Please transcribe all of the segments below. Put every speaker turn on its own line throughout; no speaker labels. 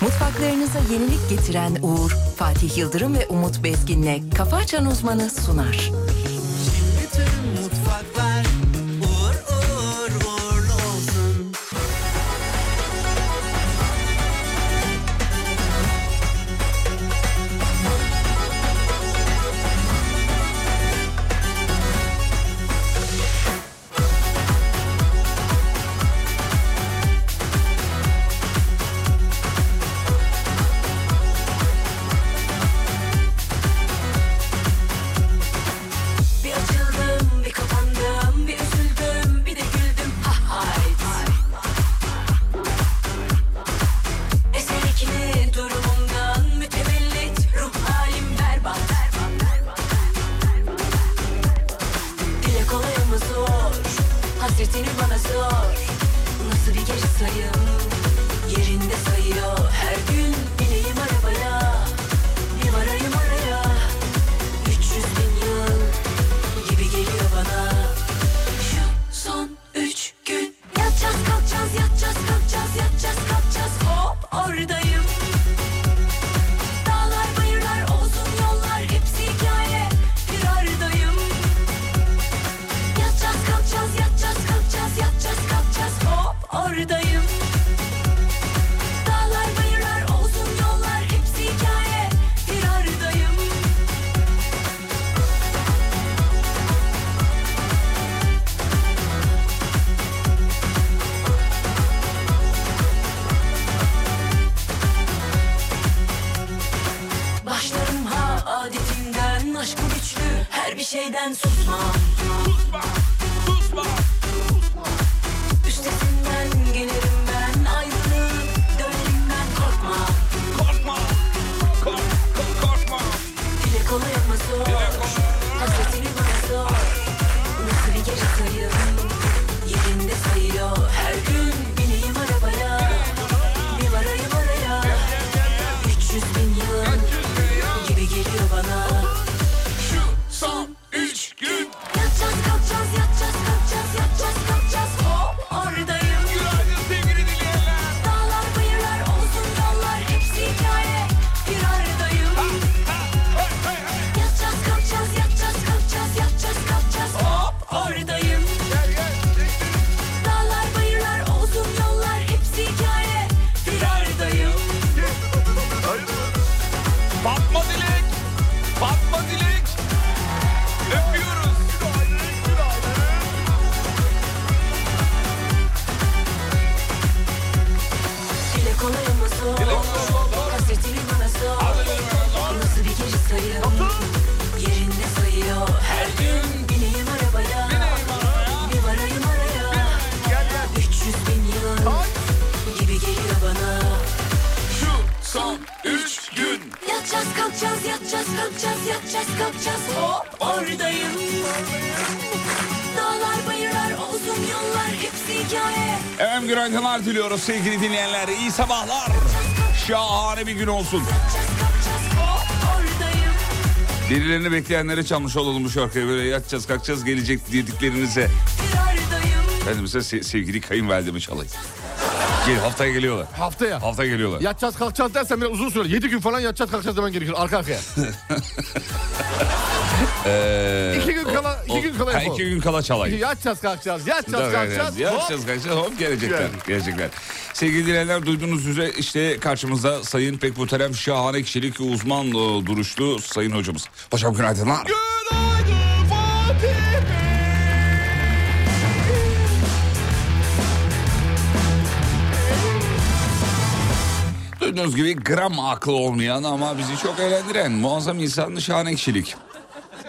Mutfaklarınıza yenilik getiren Uğur, Fatih Yıldırım ve Umut Bezgin'le Kafa Açan Uzmanı sunar.
Bütün mutfaklar uğur uğur uğurlu olsun.
Bir açıldım, bir kapandım, bir üzüldüm, bir de güldüm. Ha hayt. Eser ikili durumumdan mütevellit, ruh halim berbat. Dile kolay ama zor, hasretini bana sor. Nasıl bir geri sayım, yerinde sayıyor. Her gün bineyim arabaya, bir varayım araya. 300 bin yıl gibi geliyor bana Şu son üç gün Yatacağız kalkacağız yatacağız kalkacağız yatacağız kalkacağız Hop oradayım Dağlar bayırlar uzun yollar hepsi hikaye Bir aradayım Yatacağız kalkacağız yatacağız kalkacağız yatacağız kalkacağız Hop oradayım Dağlar bayırlar uzun yollar hepsi hikaye Bir aradayım Başlarım ha adetinden Aşk bu güçlü her bir şeyden susmam Üstesinden gelirim ben Ayrılıp dönerim ben korkma Dile kolay ama zor Hasretini bana sor Nasıl bir geri sayım Yerinde sayıyor Her gün bineyim arabaya Bir varayım araya 300 bin yıl Gibi geliyor bana Şu son üç gün Yatacağız kalkacağız yatacağız kalkacağız Yatacağız kalkacağız hop oradayım Dağlar bayırlar uzun yollar Hepsi hikaye bir aradayım Yatacağız kalkacağız yatacağız kalkacağız yatacağız kalkacağız Hop oradayım Dağlar bayırlar uzun yollar hepsi hikaye Bir aradayım
Fatma Dilek. Fatma Dilek. Öpüyoruz.
Dile kolay ama zor Hasretini bana sor Nasıl bir geri sayım Yerinde sayıyor Her gün bineyim arabaya Bir varayım araya 300 bin yıl Gibi geliyor bana
Şu son 3 gün.
Yatacağız kalkacağız yatacağız kalkacağız yatacağız kalkacağız hop oradayım Dağlar bayırlar uzun yollar hepsi hikaye
Efendim günaydınlar diliyoruz sevgili dinleyenler. İyi sabahlar. Şahane bir gün olsun.
Yatacağız kalkacağız hop oradayım
Delilerini bekleyenlere çalmış olalım bu şarkıyı. Böyle yatacağız kalkacağız gelecek dediklerinize.
bir aradayım
Ben de mesela se- sevgili kayınvalidemi çalayım. Gel, haftaya geliyorlar.
Haftaya.
Hafta geliyorlar.
Yatacağız kalkacağız dersen biraz uzun süre. 7 gün falan yatacağız kalkacağız demen gerekiyor arka arkaya.
Ee,
İki gün
o-
kala- iki
o-
gün kala
ha,
yapalım.
iki gün kala çalayım.
yatacağız kalkacağız,
Tabii,
yatacağız kalkacağız.
yani.
hop.
Yapacağız kaçacağız. Hop gelecekler.
Geldik.
Gelecekler. Sevgili dinleyenler duyduğunuz üzere işte karşımızda Sayın Pek Muhterem Şahane Kişilik Uzman e, Duruşlu Sayın Hocamız. Hocam günaydınlar. Duyduğunuz gibi gram aklı olmayan ama bizi çok eğlendiren muazzam insanlı şahane kişilik.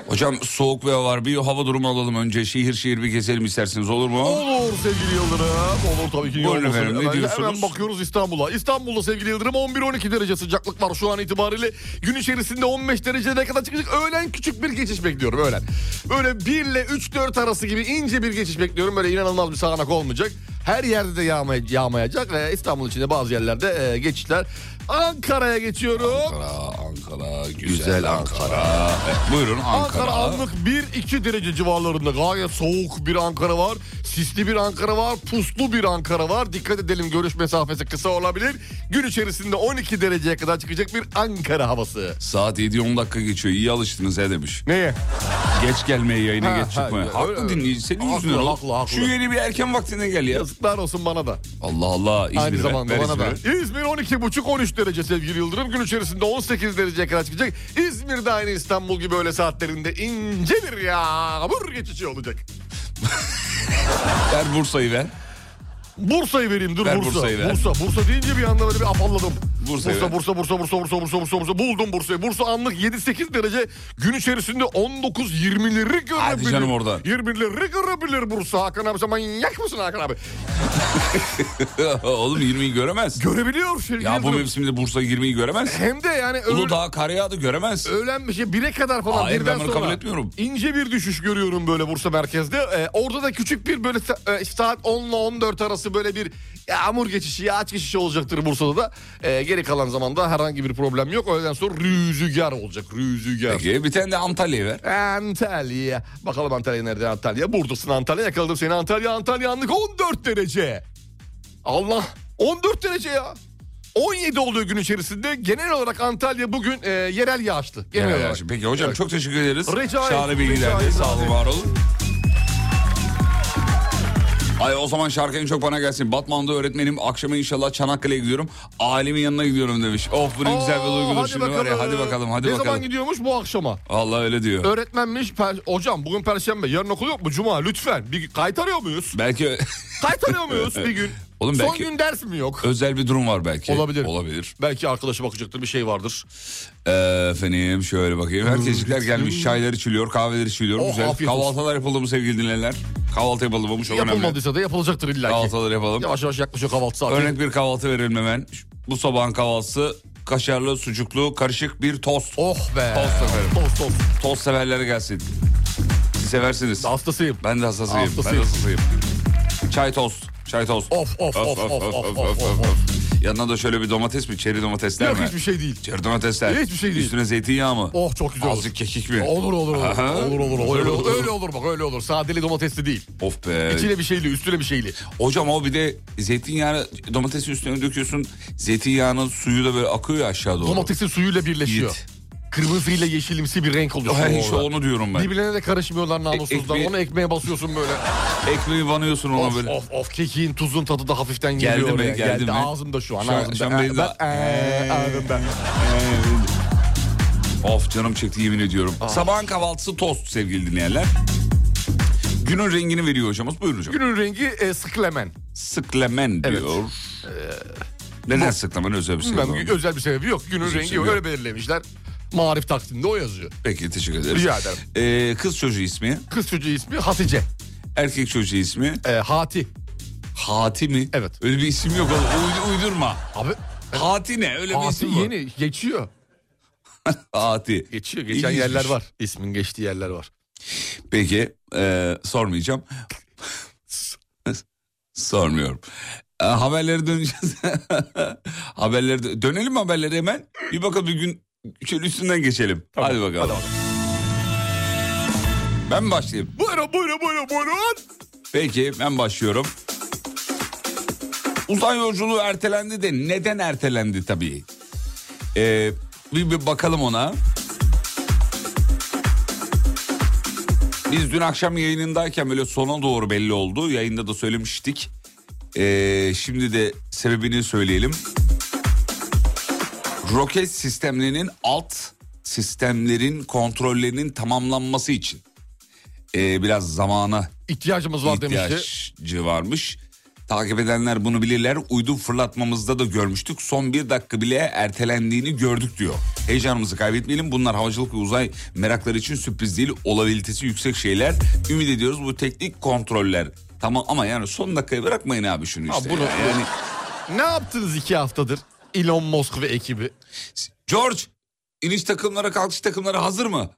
Hocam soğuk ve var bir hava durumu alalım önce şehir şehir bir gezelim isterseniz olur mu?
Olur sevgili Yıldırım. Olur tabii ki. niye
Buyurun
olmasın?
efendim, ne
hemen,
diyorsunuz?
hemen bakıyoruz İstanbul'a. İstanbul'da sevgili Yıldırım 11-12 derece sıcaklık var şu an itibariyle. Gün içerisinde 15 dereceye kadar çıkacak. Öğlen küçük bir geçiş bekliyorum öğlen. Böyle 1 ile 3-4 arası gibi ince bir geçiş bekliyorum. Böyle inanılmaz bir sağanak olmayacak. Her yerde de yağmay- yağmayacak. Ee, İstanbul içinde bazı yerlerde e, geçişler. Ankara'ya geçiyorum.
Ankara, Ankara, güzel,
Güzel
Ankara.
Ankara.
Evet, buyurun Ankara.
Ankara anlık 1-2 derece civarlarında gayet soğuk bir Ankara var. Sisli bir Ankara var, puslu bir Ankara var. Dikkat edelim görüş mesafesi kısa olabilir. Gün içerisinde 12 dereceye kadar çıkacak bir Ankara havası.
Saat 7-10 dakika geçiyor. İyi alıştınız he demiş.
Neye?
Geç gelmeye yayına
Ha,
geç
ha,
çıkmaya.
öyle,
haklı
öyle.
dinleyici senin
Haklı,
yüzünden. oğlum.
haklı, haklı.
Şu yeni bir erken vaktine gel ya.
Yazıklar olsun bana da.
Allah Allah İzmir'e.
Aynı zamanda
Ver
bana da.
İzmir'e.
İzmir 12.5-13 derece sevgili Yıldırım. Gün içerisinde 18 dereceye kadar çıkacak. İzmir'de aynı İstanbul gibi öyle saatlerinde ince bir yağmur geçişi olacak.
Ver Bursa'yı ver.
Bursa'yı vereyim dur
Ver
Bursa.
Bursa'yı ver.
Bursa. Bursa deyince bir anda böyle bir afalladım.
Bursa'yı ver.
Bursa, Bursa, Bursa, Bursa, Bursa, Bursa, Bursa, Bursa. Buldum Bursa'yı. Bursa anlık 7-8 derece. Gün içerisinde 19-20'leri görebilir.
Hadi canım oradan.
20'leri görebilir Bursa. Hakan abi sen manyak mısın Hakan abi?
Oğlum 20'yi göremez.
Görebiliyor şey sevgili
ya bu
Yıldırım.
mevsimde Bursa 20'yi göremez.
Hem de yani öyle...
Uludağ kar yağdı göremez.
Öğlen bir şey 1'e kadar falan
Hayır,
birden
ben bunu
sonra
kabul etmiyorum.
ince bir düşüş görüyorum böyle Bursa merkezde. Ee, orada da küçük bir böyle sa- e, saat 10 ile 14 arası böyle bir yağmur geçişi, yağış geçişi olacaktır Bursa'da da. Ee, geri kalan zamanda herhangi bir problem yok. Öğleden sonra rüzgar olacak, rüzgar.
Peki bir tane de Antalya'yı ver.
Antalya. Bakalım Antalya nerede Antalya? Buradasın Antalya. Yakaladım seni Antalya. Antalya anlık 14 derece. Allah 14 derece ya. 17 oluyor gün içerisinde. Genel olarak Antalya bugün e, yerel yağışlı. Genel
Evet,
olarak.
evet. Peki hocam
Evet.
çok teşekkür ederiz.
Rica ederim,
Şahane
rica
bilgilerdi.
ederim.
Sağ olun var olun. Ay o zaman şarkı en çok bana gelsin. Batman'da öğretmenim. Akşama inşallah Çanakkale'ye gidiyorum. Ailemin yanına gidiyorum demiş. Of bu ne güzel bir
Aa,
duygudur
hadi
şimdi var ya. Hadi bakalım hadi
ne
bakalım.
zaman gidiyormuş bu akşama?
Allah öyle diyor.
Öğretmenmiş. per- Hocam bugün perşembe. Yarın okul yok mu? Cuma lütfen. Bir kaytarıyor muyuz?
belki
Kaytarıyor muyuz bir gün?
Oğlum
Son
belki-
gün ders mi yok?
özel bir durum var belki.
Olabilir.
Olabilir.
Belki arkadaşı bakacaktır bir şey vardır.
Ee, Efendim şöyle bakayım. Herkeslikler gelmiş. Çaylar içiliyor, kahveler içiliyor.
Hmm. Oh,
Güzel.
afiyet olsun.
Kahvaltılar yapıldı mı sevgili dinleyenler? Kahvaltı yapıldı mı? Bu çok önemli.
Yapılmadıysa da yapılacaktır illa ki.
Kahvaltılar yapalım.
Yavaş yavaş yaklaşıyor kahvaltı saati.
Örnek bir kahvaltı verelim hemen. Bu sabahın kahvaltısı kaşarlı, sucuklu, karışık bir tost.
Oh be.
Tost efendim.
Tost tost.
Tost severlere gelsin. Siz seversiniz.
Hastasıyım.
Ben de hassasıyım. Ben de
Hastasıyım.
hassasıyım. Çay tost. Çay tost.
Of, of, of, of, of, of, of.
Yanına da şöyle bir domates mi? Çeri domatesler
Yok
mi?
hiçbir şey değil.
Çeri domatesler.
Hiçbir şey değil.
Üstüne zeytinyağı mı?
Oh çok güzel olur.
Azıcık kekik mi?
Olur olur olur.
Aha.
Olur olur. olur.
Öyle
Öyle,
olur.
olur. öyle olur bak öyle olur. Sadeli domatesli değil.
Of be.
İçine bir şeyli üstüne bir şeyli.
Hocam o bir de zeytinyağını domatesi üstüne döküyorsun. Zeytinyağının suyu da böyle akıyor ya aşağı doğru.
Domatesin suyuyla birleşiyor.
Yiğit.
Kırmızıyla yeşilimsi bir renk oluşuyor.
Ha, işte
orada.
onu diyorum ben.
Birbirlerine de karışmıyorlar namussuzlar.
ekmeği-
Onu ekmeğe basıyorsun böyle.
Ekmeği banıyorsun ona
Of
böyle.
of of kekiğin tuzun tadı da hafiften
Geldi
geliyor
mi,
oraya.
geldi mi?
Ağzımda şu an
Şu an-
ağzımda.
şu an benim de-
ben, ee, ağzımda.
Ee, Of canım çekti yemin ediyorum.
Ah.
Sabahın kahvaltısı tost sevgili dinleyenler. Günün rengini veriyor hocamız. Buyurun hocam.
Günün rengi e, sıklemen.
Sıklemen
Evet. Ee,
diyor. Neden sıklemen özel bir şey
Ben
var mı?
özel bir sebebi yok. Günün
Özel bir şey
rengi
sebebi
öyle belirlemişler. Marif takviminde o yazıyor.
Peki teşekkür ederiz.
Rica ederim.
Ee, kız çocuğu ismi,
Kız çocuğu ismi Hatice.
erkek çocuğu ismi.
Ee, Hati.
Hati mi?
Evet.
Öyle bir isim yok. oğlum. Uydu- uydurma.
Abi
Hati ne? Öyle bir
Hati
isim var.
yeni geçiyor.
Hati.
Geçiyor. Geçen
İlginçmiş.
yerler var. İsmin geçtiği yerler var.
Peki e, sormayacağım. Sormuyorum. E, haberlere döneceğiz. haberlere dö- dönelim mi haberlere hemen. Bir bakalım bir gün şöyle üstünden geçelim. hadi bakalım. Ben mi başlayayım?
Buyurun buyurun buyurun buyurun.
Peki ben başlıyorum. Uzay yolculuğu ertelendi de neden ertelendi tabii. Ee, bir, bir bakalım ona. Biz dün akşam yayınındayken böyle sona doğru belli oldu. Yayında da söylemiştik. Ee, şimdi de sebebini söyleyelim. Roket sistemlerinin alt sistemlerin kontrollerinin tamamlanması için ee, biraz zamana
İhtiyacımız var demişti.
ihtiyacı varmış. Takip edenler bunu bilirler. Uydu fırlatmamızda da görmüştük. Son bir dakika bile ertelendiğini gördük diyor. Heyecanımızı kaybetmeyelim. Bunlar havacılık ve uzay merakları için sürpriz değil. Olabilitesi yüksek şeyler. Ümit ediyoruz bu teknik kontroller. Tamam ama yani son dakikaya bırakmayın abi şunu
Ha,
işte.
bunu-
yani
Ne yaptınız iki haftadır? Elon Musk ve ekibi.
George iniş takımları kalkış takımları hazır mı?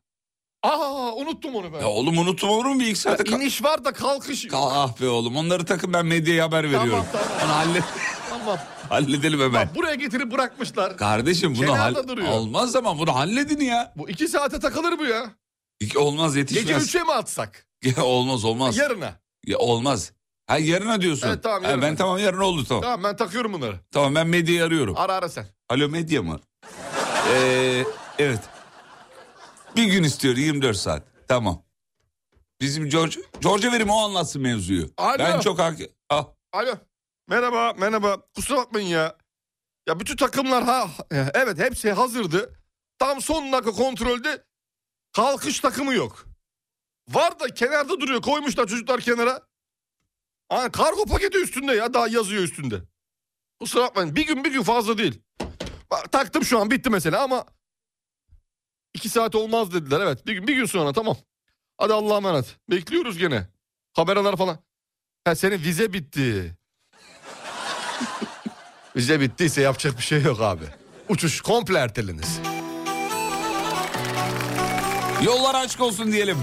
Aa unuttum onu ben.
Ya oğlum unuttum olur mu bir iki saate?
İniş var da kalkış.
Kal- ah be oğlum onları takın ben medyaya haber veriyorum.
tamam.
Onu hallet.
Tamam. yapmam.
Halledelim hemen.
Buraya getirip bırakmışlar.
Kardeşim bunu
Kenarda
hal-
duruyor.
olmaz ama bunu halledin ya.
Bu iki saate takılır bu ya.
İki- Olmaz
Gece
yetişmez.
üçe mi atsak?
Ya olmaz olmaz.
Yarına.
Ya olmaz. Ha yarına diyorsun.
Evet, tamam,
Ha,
yarına.
ben tamam yarın oldu tamam.
Tamam ben takıyorum bunları.
Tamam ben medyayı arıyorum.
Ara ara sen.
Alo medya mı? Ee, evet. Bir gün istiyor 24 saat. Tamam. Bizim George, George'a verim o anlatsın mevzuyu.
Alo.
Ben çok hak... Ah,
Alo. Merhaba, merhaba. Kusura bakmayın ya. Ya bütün takımlar ha evet hepsi hazırdı. Tam son dakika kontrolde kalkış takımı yok. Var da kenarda duruyor. Koymuşlar çocuklar kenara. Aa, kargo paketi üstünde ya. Daha yazıyor üstünde. Kusura bakmayın. Bir gün bir gün fazla değil. Bak, taktım şu an bitti mesela ama iki saat olmaz dediler. Evet bir gün, bir gün sonra tamam. Hadi Allah'a emanet. Bekliyoruz gene. Kameralar falan. Ha senin vize bitti. vize bittiyse yapacak bir şey yok abi. Uçuş komple erteleniz.
yollar açık olsun diyelim.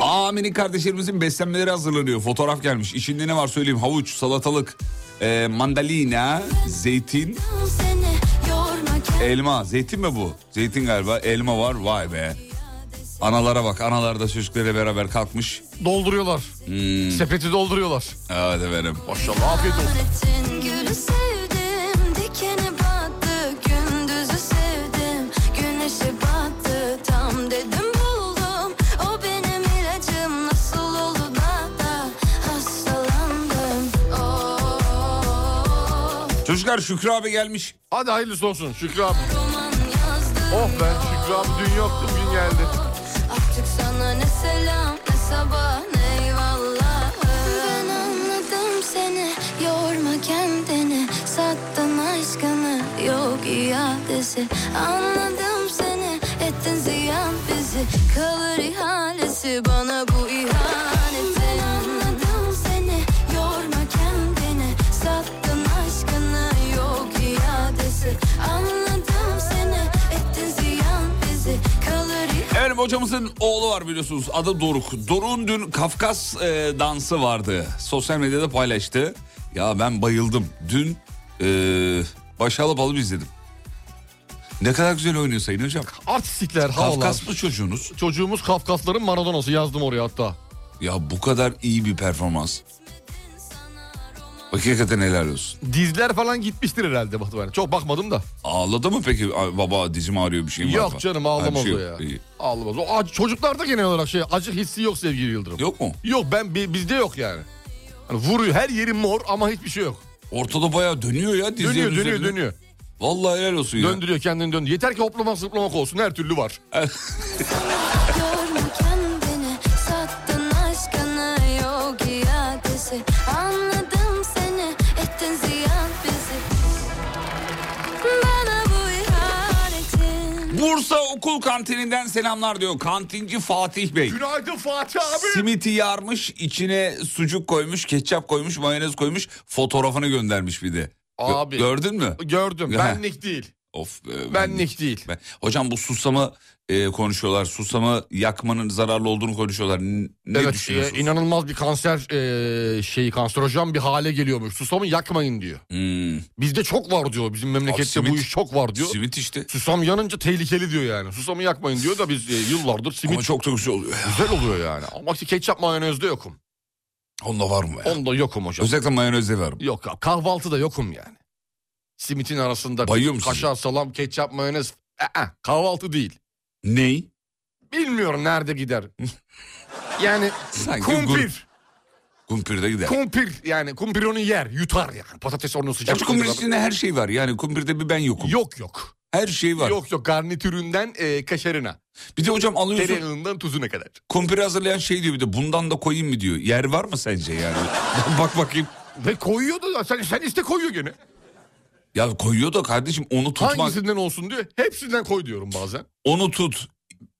Amini kardeşlerimizin beslenmeleri hazırlanıyor. Fotoğraf gelmiş. İçinde ne var söyleyeyim. Havuç, salatalık, e, mandalina, zeytin,
Seni yorma kendini
elma. Zeytin mi bu? Zeytin galiba. Elma var. Vay be. Analara bak. Analar da çocuklarıyla beraber kalkmış. Hmm.
Dolduruyorlar. Sepeti dolduruyorlar.
Evet efendim.
Maşallah afiyet olsun.
ettin Gülü sevdim Dikeni battı Gündüzü sevdim Güneşe battı Tam dedim buldum O benim ilacım Nasıl oldu da da Hastalandım Oh
Çocuklar Şükrü abi gelmiş.
Hadi hayırlısı olsun Şükrü abi.
Roman yazdım
Oh be Şükrü abi dün yoktu bugün geldi.
Artık sana ne selam ne sabah ne eyvallah Ben anladım seni yorma kendini Sattın aşkını yok iadesi Anladım seni ettin ziyan bizi Kalır ihalesi bana bu ihanetin Ben anladım seni yorma kendini Sattın aşkını yok iadesi Anladım seni ettin ziyan bizi Kalır ihalesi
Efendim hocamızın oğlu var biliyorsunuz adı Doruk. Doruk'un dün Kafkas e, dansı vardı. Sosyal medyada paylaştı. Ya ben bayıldım. Dün e, Başa alıp alıp izledim. Ne kadar güzel oynuyor Sayın Hocam.
Artistlikler havalar.
Kafkaslı çocuğunuz.
Çocuğumuz Kafkasların Maradona'sı yazdım oraya hatta.
Ya bu kadar iyi bir performans. Hakikaten helal olsun.
Dizler falan gitmiştir herhalde Batu Bey. Çok bakmadım da.
Ağladı mı peki? Ay, baba dizim ağrıyor bir şey mi var?
Yok
falan?
canım
Ha, bir
ağlamaz
şey
o ya.
yok. İyi.
Ağlamaz. O acı, çocuklarda genel olarak şey acı hissi yok sevgili Yıldırım.
Yok mu?
Yok ben bi- bizde yok yani. Hani vuruyor her yeri mor ama hiçbir şey yok.
Ortada bayağı dönüyor ya dizinin
Dönüyor dönüyor
üzerinde.
dönüyor.
Vallahi helal olsun ya.
Döndürüyor kendini döndürüyor. Yeter ki hoplamak zıplamak olsun her türlü var.
Yorma kendini sattın aşkını yok iadesi Anladım seni ettin ziyan bizi Bana bu ihanetin
Bursa okul kantininden selamlar diyor. Kantinci Fatih Bey.
Günaydın Fatih abi.
Simiti yarmış, içine sucuk koymuş, ketçap koymuş, mayonez koymuş. Fotoğrafını göndermiş bir de. Gö-
Abi.
Gördün mü?
Gördüm
Ha.
benlik değil.
Of. e,
Benlik değil.
ben- Hocam bu susamı e, konuşuyorlar. Susamı yakmanın zararlı olduğunu konuşuyorlar. N- Ne
evet
düşünüyorsunuz?
e, inanılmaz bir kanser e, şeyi kanserojen bir hale geliyormuş. Susamı yakmayın diyor.
Hmm,
Bizde çok var diyor. Bizim memlekette
simit-
bu iş çok var diyor.
simit işte.
Susam yanınca tehlikeli diyor yani. Susamı yakmayın diyor da biz e, yıllardır simit
Ama çok da güzel oluyor. ya.
güzel oluyor yani. Ama işte ketçap mayonezde yokum.
Onda var mı? Ya?
Onda yokum hocam.
Özellikle mayonezde var. mı?
Yok ya kahvaltıda yokum yani. Simitin arasında
Bayıyor musun?
kaşar, salam, ketçap, mayonez. Ee, kahvaltı değil.
Ney?
Bilmiyorum nerede gider. yani
Sanki gur-
kumpir.
Kumpirde gider.
Kumpir yani kumpir onu yer yutar yani. Patates onu
Ya
sıcak.
şu kumpir
sıcak-
içinde her şey var. Yani kumpirde bir ben yokum.
Yok yok.
Her şey var.
Yok yok garnitüründen e, kaşarına.
Bir de hocam alıyorsun.
Tereyağından tuzuna kadar.
Kumpiri hazırlayan şey diyor bir de bundan da koyayım mı diyor. Yer var mı sence yani? Bak bakayım.
Ve koyuyor da sen, sen iste koyuyor gene.
Ya koyuyor da kardeşim onu tutmak.
Hangisinden olsun diyor. Hepsinden koy diyorum bazen.
Onu tut.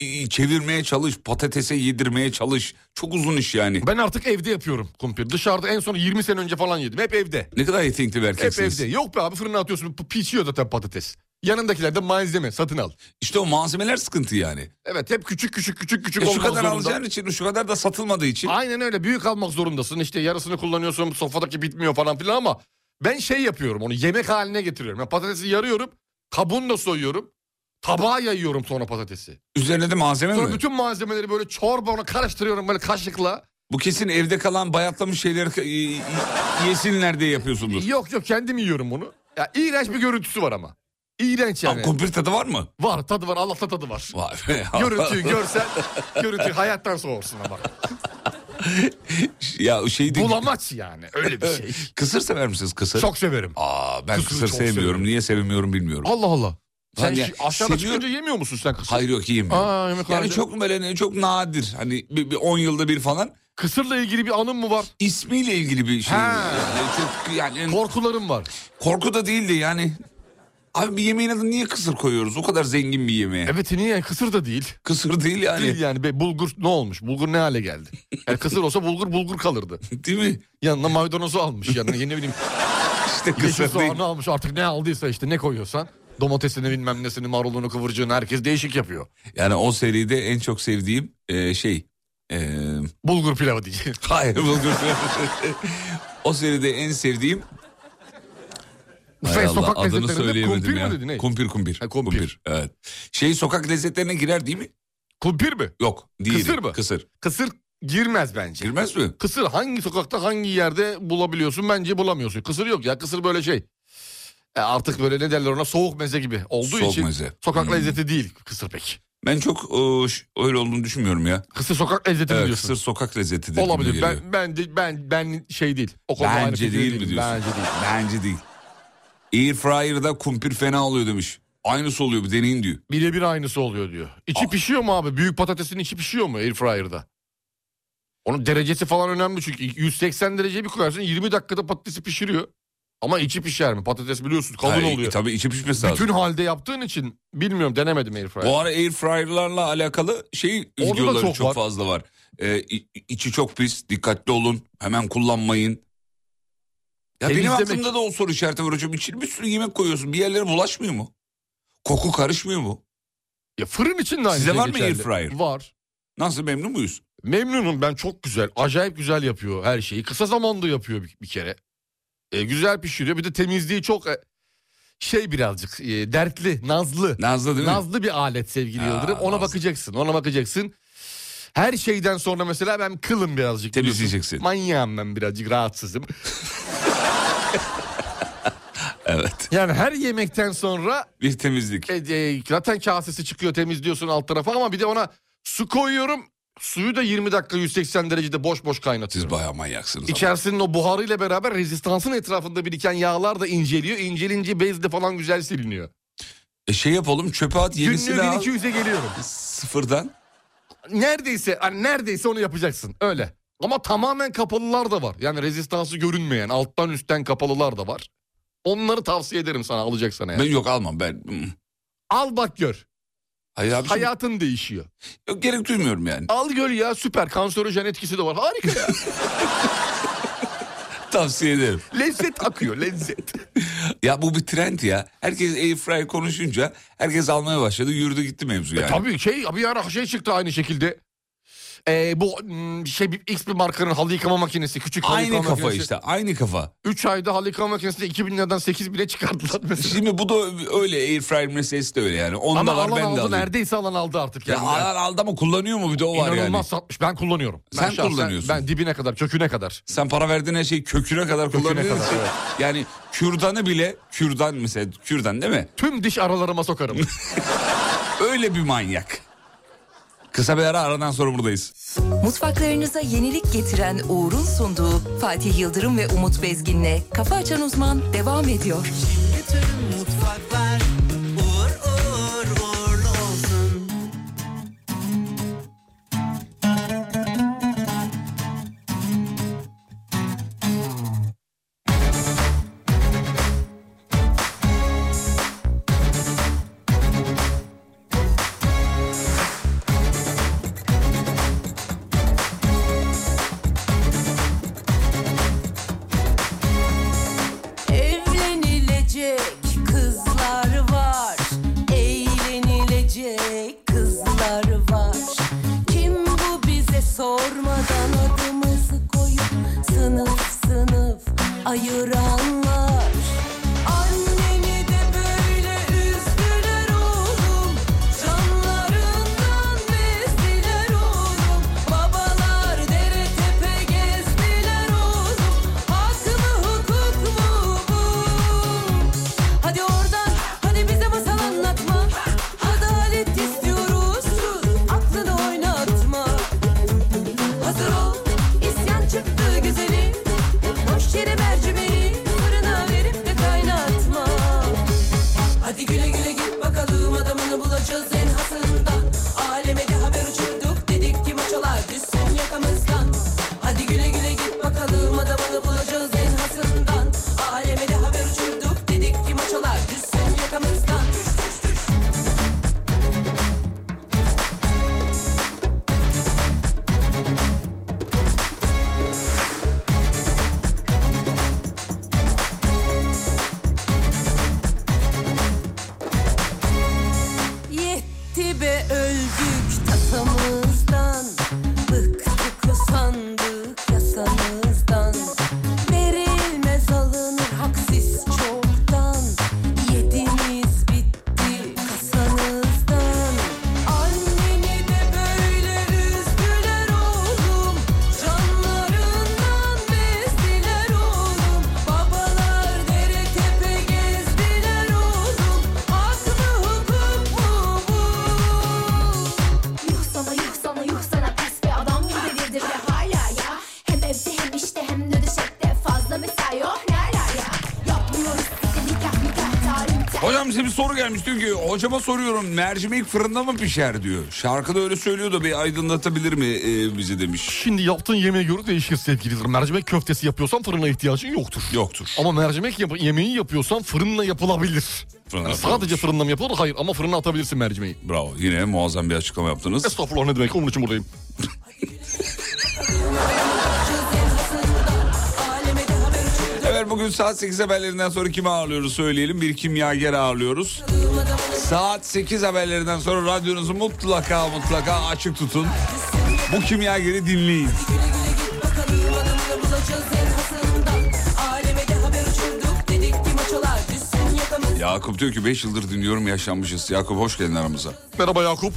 İ- Çevirmeye çalış. Patatese yedirmeye çalış. Çok uzun iş yani.
Ben artık evde yapıyorum kumpir. Dışarıda en son 20 sene önce falan yedim. Hep evde.
Ne kadar yetenekli bir
Hep
erkeksiniz.
evde. Yok be abi fırına atıyorsun. P- Pişiyor zaten patates. Yanındakiler de malzeme satın al.
İşte o malzemeler sıkıntı yani.
Evet hep küçük küçük küçük küçük
E şu
olmak
kadar
zorunda.
alacağın için şu kadar da satılmadığı için.
Aynen öyle büyük almak zorundasın işte yarısını kullanıyorsun sofradaki bitmiyor falan filan ama ben şey yapıyorum onu yemek haline getiriyorum. Yani patatesi yarıyorum kabuğunu da soyuyorum tabağa yayıyorum sonra patatesi.
Üzerine de malzeme
Sonra
mi?
bütün malzemeleri böyle çorba ona karıştırıyorum böyle kaşıkla.
Bu kesin evde kalan bayatlamış şeyleri e, e, yesinler diye yapıyorsundur.
Yok yok kendim yiyorum bunu. Ya iğrenç bir görüntüsü var ama. İğrenç
Yani.
yani.
Kumpir tadı var mı?
Var tadı var Allah'ta tadı var.
Var.
Görüntüyü görsen görüntü hayattan soğursun ama.
ya şey değil.
Bulamaç yani öyle bir şey.
Kısır sever misiniz kısır?
Çok severim.
Aa ben
Kısırı
kısır
çok
sevmiyorum.
seviyorum.
Niye sevmiyorum bilmiyorum.
Allah Allah. Sen
Hani
şu- aşağıda
seviyorum-
çıkınca yemiyor musun sen kısır?
Hayır yok yemiyorum.
Aa, yemek
yani
harcı-
çok böyle ne- çok nadir. Hani bir, bir 10 yılda bir falan.
Kısırla ilgili bir anım mı var?
İsmiyle ilgili bir şey.
Ha.
Yani çok yani
Korkularım var.
korku da değildi yani. Abi bir yemeğin adını niye kısır koyuyoruz? O kadar zengin bir yemeğe.
Evet niye? Kısır da değil.
Kısır değil yani.
Değil yani. Be, bulgur ne olmuş? Bulgur ne hale geldi? Yani kısır olsa bulgur bulgur kalırdı.
Değil mi?
Yanına maydanozu almış. Yanına yeni ne bileyim
İşte
yeşil
kısır değil.
soğanı almış. Artık ne aldıysa işte ne koyuyorsan. Domatesini bilmem nesini marulunu kıvırcığını herkes değişik yapıyor.
Yani o seride en çok sevdiğim e, şey. e,
Bulgur pilavı diye.
hayır bulgur. o seride en sevdiğim. Hay
Şey,
Allah,
sokak
adını
lezzetlerinde
söyleyemedim
kumpir
ya.
mi dedi, ne?
Kumpir kumpir.
Ha, kumpir.
Evet. Şey sokak lezzetlerine girer değil mi?
Kumpir mi?
Yok. Değil.
Kısır mı?
Kısır.
Kısır girmez bence.
Girmez mi?
Kısır hangi sokakta hangi yerde bulabiliyorsun bence bulamıyorsun. Kısır yok ya kısır böyle şey. E artık böyle ne derler ona soğuk meze gibi olduğu
Soğuk
için
meze.
sokak
Hmm.
lezzeti değil kısır pek.
Ben çok e, ş- öyle olduğunu düşünmüyorum ya.
Kısır sokak lezzeti mi
Evet,
diyorsun.
kısır sokak lezzeti de
Olabilir. Ben ben de- ben ben şey değil. O konuda aynı
Bence
fikirde
değil mi
değilim.
diyorsun?
Bence değil.
Bence değil. Air fryer'da kumpir fena oluyor demiş. Aynısı oluyor bir deneyin diyor.
Birebir aynısı oluyor diyor. İçi
Ah.
pişiyor mu abi? Büyük patatesin içi pişiyor mu airfryer'da? Onun derecesi falan önemli çünkü 180 dereceye bir koyarsın 20 dakikada patatesi pişiriyor. Ama içi pişer mi? Patates biliyorsun kalın
Hayır, e,
oluyor.
Tabii içi pişmesi lazım.
Bütün halde yaptığın için bilmiyorum denemedim airfryer.
Bu ara air fryer'larla alakalı şey
da
videoları çok,
çok var.
fazla var. Ee, i- içi çok pis, dikkatli olun, hemen kullanmayın. Ya benim
Temizlemek.
aklımda da o soru işareti var hocam. İçine bir sürü yemek koyuyorsun, bir yerlere bulaşmıyor mu? Koku karışmıyor mu?
Ya fırın için de aynı
Size
şey
var mı
geçerli.
airfryer?
Var.
Nasıl memnun muyuz?
Memnunum ben çok güzel. Acayip güzel yapıyor her şeyi. Kısa zamanda yapıyor bir, bir kere. E, güzel pişiriyor. Bir de temizliği çok e, şey birazcık e, dertli, nazlı.
Nazlı değil mi?
Nazlı bir alet sevgili
Ha,
Yıldırım. Ona
nazlı.
bakacaksın. Ona bakacaksın. Her şeyden sonra mesela ben kılım birazcık. biliyorsun.
Temizleyeceksin.
Manyağım ben birazcık rahatsızım.
Evet.
Yani her yemekten sonra
Bir temizlik.
e, e, zaten kasesi çıkıyor temizliyorsun alt tarafa ama bir de ona su koyuyorum. Suyu da 20 dakika 180 derecede boş boş kaynatıyorum.
Siz bayağı manyaksınız. ama.
İçerisinin o buharıyla beraber rezistansın etrafında biriken yağlar da inceliyor. İncelince bezle falan güzel siliniyor.
E şey yapalım çöpe at yenisini
Günlüğü
al.
1200'e geliyorum.
Sıfırdan.
Neredeyse hani neredeyse onu yapacaksın öyle. Ama tamamen kapalılar da var. Yani rezistansı görünmeyen alttan üstten kapalılar da var. Onları tavsiye ederim sana alacaksan eğer.
Ben yok almam ben. Hmm.
Al bak gör.
Hayır abi.
Hayatın değişiyor.
Yok, gerek duymuyorum yani.
Al gör ya süper kanserojen etkisi de var. Harika ya.
Tavsiye ederim.
lezzet akıyor lezzet.
Ya bu bir trend ya. Herkes airfryer konuşunca herkes almaya başladı. Yürüdü gitti mevzu yani.
Tabii şey bir ara şey çıktı aynı şekilde. Ee, bu mm, şey bir- X bir markanın halı yıkama makinesi küçük halı
Aynı
yıkama
kafa
makinesi.
işte aynı kafa.
3 ayda halı yıkama makinesinde 2000 liradan 8 bine çıkardılar mesela.
Şimdi bu da öyle airfryer meselesi de öyle yani. Onda
Ama
var
alan
ben de
aldı
alayım.
neredeyse alan aldı artık.
Ya
Yani.
alan aldı ama kullanıyor mu bir de o var
İnanılmaz
yani.
satmış. Ben kullanıyorum. Ben
Sen kullanıyorsun.
Ben dibine kadar, köküne kadar.
Sen para verdiğin her şeyi köküne kadar
Köküne
kullanıyorsun.
kadar, evet.
Yani kürdanı bile kürdan mesela kürdan değil mi?
Tüm diş aralarıma sokarım.
Öyle bir manyak. Kısa bir ara aradan sonra buradayız.
Mutfaklarınıza yenilik getiren Uğur'un sunduğu Fatih Yıldırım ve Umut Bezgin'le Kafa Açan Uzman devam ediyor.
Bütün mutfaklar uğur uğur uğurlu olsun.
Evlenilecek
Hocam size bir soru gelmiş diyor ki hocama soruyorum mercimek fırında mı pişer diyor. Şarkıda öyle söylüyor da bir aydınlatabilir mi e, bizi demiş.
Şimdi yaptığın yemeğe göre değişir sevgilidir. Mercimek köftesi yapıyorsan fırına ihtiyacın yoktur.
Yoktur.
Ama mercimek yap- yemeği yapıyorsan fırınla yapılabilir.
Fırınla
Yani
yapılabilir.
sadece fırınla mı yapılır? Hayır ama fırına atabilirsin mercimeği.
Bravo yine muazzam bir açıklama yaptınız.
Estağfurullah ne demek onun için buradayım.
Evet bugün saat 8 haberlerinden sonra kimi ağırlıyoruz söyleyelim. Bir kimyager ağırlıyoruz. Saat 8 haberlerinden sonra radyonuzu mutlaka mutlaka açık tutun. Bu kimyageri dinleyin. Yakup diyor ki 5 yıldır dinliyorum yaşanmışız. Yakup hoş geldin aramıza.
Merhaba Yakup.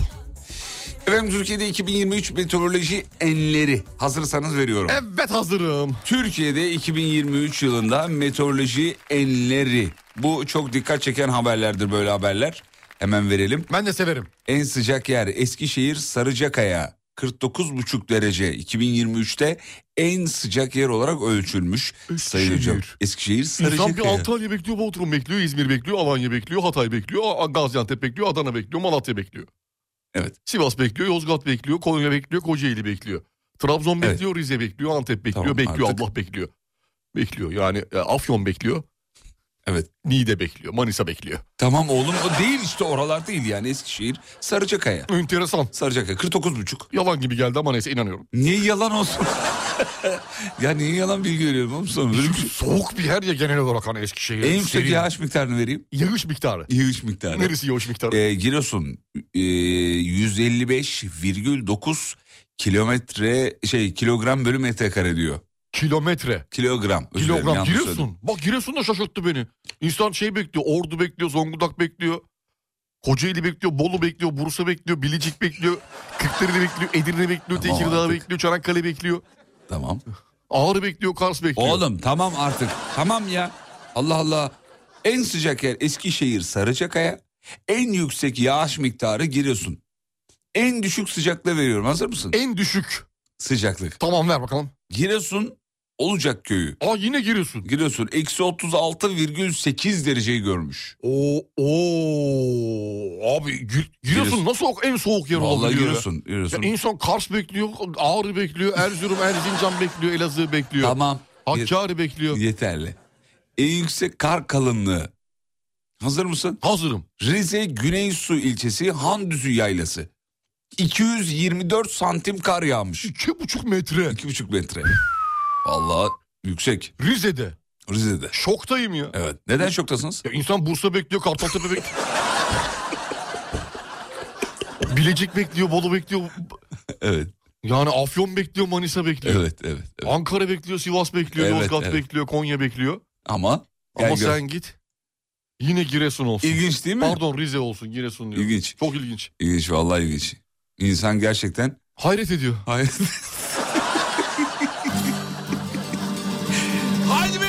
Efendim Türkiye'de 2023 meteoroloji enleri hazırsanız veriyorum.
Evet hazırım.
Türkiye'de 2023 yılında meteoroloji enleri. Bu çok dikkat çeken haberlerdir böyle haberler. Hemen verelim.
Ben de severim.
En sıcak yer Eskişehir Sarıcakaya. 49,5 derece 2023'te en sıcak yer olarak ölçülmüş. Sayın hocam.
Eskişehir.
Eskişehir
İnsan bir
Sarıcakaya.
Antalya bekliyor, Bodrum bekliyor, İzmir bekliyor, Alanya bekliyor, Hatay bekliyor, A- Gaziantep bekliyor, Adana bekliyor, Malatya bekliyor.
Evet.
Sivas bekliyor, Yozgat bekliyor, Konya bekliyor, Kocaeli bekliyor. Trabzon
Evet.
bekliyor, Rize bekliyor, Antep bekliyor,
Tamam,
bekliyor,
artık-
Allah bekliyor. Bekliyor yani e, Afyon bekliyor,
Evet.
Niğde bekliyor, Manisa bekliyor.
Tamam oğlum o değil işte oralar değil yani Eskişehir Sarıcakaya.
Enteresan.
Sarıcakaya 49,5.
Yalan gibi geldi ama neyse inanıyorum.
Niye yalan olsun? ya niye yalan bilgi veriyorum oğlum sana? Böyle bir-
Çünkü soğuk bir yer ya genel olarak hani Eskişehir.
En yüksek
serin.
yağış miktarını vereyim.
Yağış miktarı.
Yağış miktarı.
Neresi yağış miktarı?
Ee, Giresun e, 155,9 kilometre şey kilogram bölü metrekare diyor.
Kilometre.
Kilogram. özür dilerim,
Kilogram
yanlış
Giresun.
söyledim.
Bak Giresun da şaşırttı beni. İnsan şey bekliyor. Ordu bekliyor. Zonguldak bekliyor. Kocaeli bekliyor. Bolu bekliyor. Bursa bekliyor. Bilecik bekliyor. Kırklareli bekliyor. Edirne bekliyor.
Tamam
Tekirdağ
artık.
bekliyor. Çanakkale bekliyor.
Tamam.
Ağrı bekliyor. Kars bekliyor.
Oğlum tamam artık. Tamam ya. Allah Allah. En sıcak yer Eskişehir Sarıçakaya. En yüksek yağış miktarı Giresun. En düşük sıcaklığı veriyorum. Hazır mısın?
En düşük.
Sıcaklık.
Tamam ver bakalım.
Giresun Olacak köyü.
Aa yine Giresun.
Giresun eksi 36,8 dereceyi görmüş.
Oo, oo. Abi Gir- Giresun,
Giresun.
nasıl o- en soğuk yer olabiliyor?
Vallahi
ya?
Giresun. Giresun.
Ya insan Kars bekliyor, Ağrı bekliyor, Erzurum, Erzincan bekliyor, Elazığ bekliyor.
Tamam.
Hakkari bekliyor.
Yeterli. En yüksek kar kalınlığı. Hazır mısın?
Hazırım.
Rize Güneysu ilçesi Handüzü Yaylası. 224 santim kar yağmış.
İki buçuk metre.
2,5 metre. Vallahi yüksek
Rize'de.
Rize'de.
Şoktayım ya.
Evet. Neden şoktasınız?
Ya insan Bursa bekliyor, Kartaltepe bekliyor. Bilecik bekliyor, Bolu bekliyor.
Evet.
Yani Afyon bekliyor, Manisa bekliyor.
Evet, evet. evet.
Ankara bekliyor, Sivas bekliyor,
Evet,
Yozgat
evet.
bekliyor, Konya bekliyor.
Ama
Ama
gel gör.
sen git. Yine Giresun olsun.
ilginç değil mi?
Pardon Rize olsun, Giresun diyor.
İlginç.
Çok ilginç.
İlginç vallahi ilginç. İnsan gerçekten
Hayret ediyor.
Hayır. Haydi be!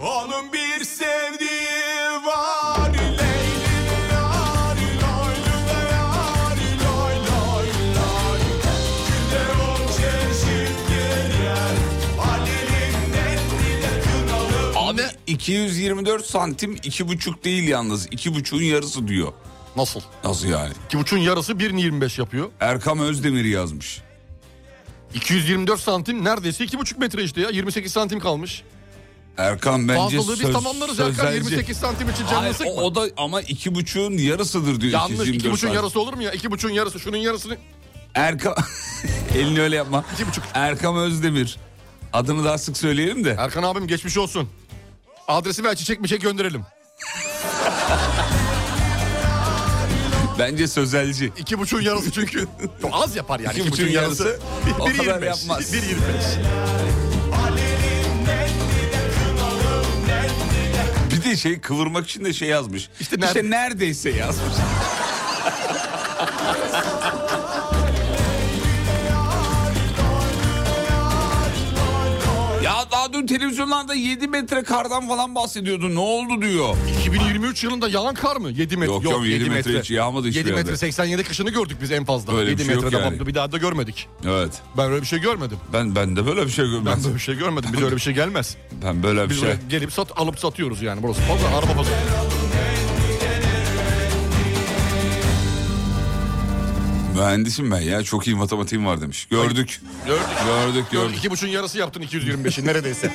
Onun bir sevdiği var
Abi 224 santim 2,5 değil yalnız. 2,5'un yarısı diyor.
Nasıl?
Nasıl yani?
İki buçuğun yarısı 1.25 yapıyor.
Erkam Özdemir yazmış.
224 santim neredeyse 2,5 metre işte ya. 28 santim kalmış.
Erkan bence
Fazlalığı biz
söz-
tamamlarız Erkan.
sözelci.
28 santim için canını
Hayır,
sıkma.
o, o da ama 2,5'un yarısıdır diyor.
Yanlış.
224
2,5'un
santim.
yarısı olur mu ya? 2,5'un yarısı. Şunun yarısını.
Erkam... Elini öyle yapma.
2,5.
Erkam Özdemir. Adını daha sık söyleyelim de.
Erkan abim geçmiş olsun. Adresi ver çiçek mi çek gönderelim.
Bence sözelci.
2,5'un yarısı çünkü. Çok az yapar yani.
2,5'un
2,5'un yarısı.
O kadar
1.25.
yapmaz.
1.25.
Bir de şey kıvırmak için de şey yazmış.
İşte
İşte,
nerede-
neredeyse yazmış. Ya daha dün televizyonlarda 7 metre kardan falan bahsediyordu. Ne oldu diyor.
2023 yılında yalan kar mı? 7 metre.
Yok, yok, 7 metre hiç yağmadı hiçbir
7
yerde.
metre 87 kışını gördük biz en fazla.
Böyle bir
7
şey yok
metrede
yani.
baktı, bir daha da görmedik.
Evet.
Ben öyle bir şey görmedim.
Ben ben de böyle bir şey
Ben
görmedim.
böyle bir şey görmedim. Bize öyle bir şey gelmez.
Ben, böyle bir
Biz
şey.
buraya gelip sat alıp satıyoruz yani. Burası pazar, araba pazarı.
Mühendisim ben ya. Çok iyi matematiğim var demiş. Gördük.
Gördük.
Gördük gördük.
İki buçuğun yarısı yaptın 225'i neredeyse.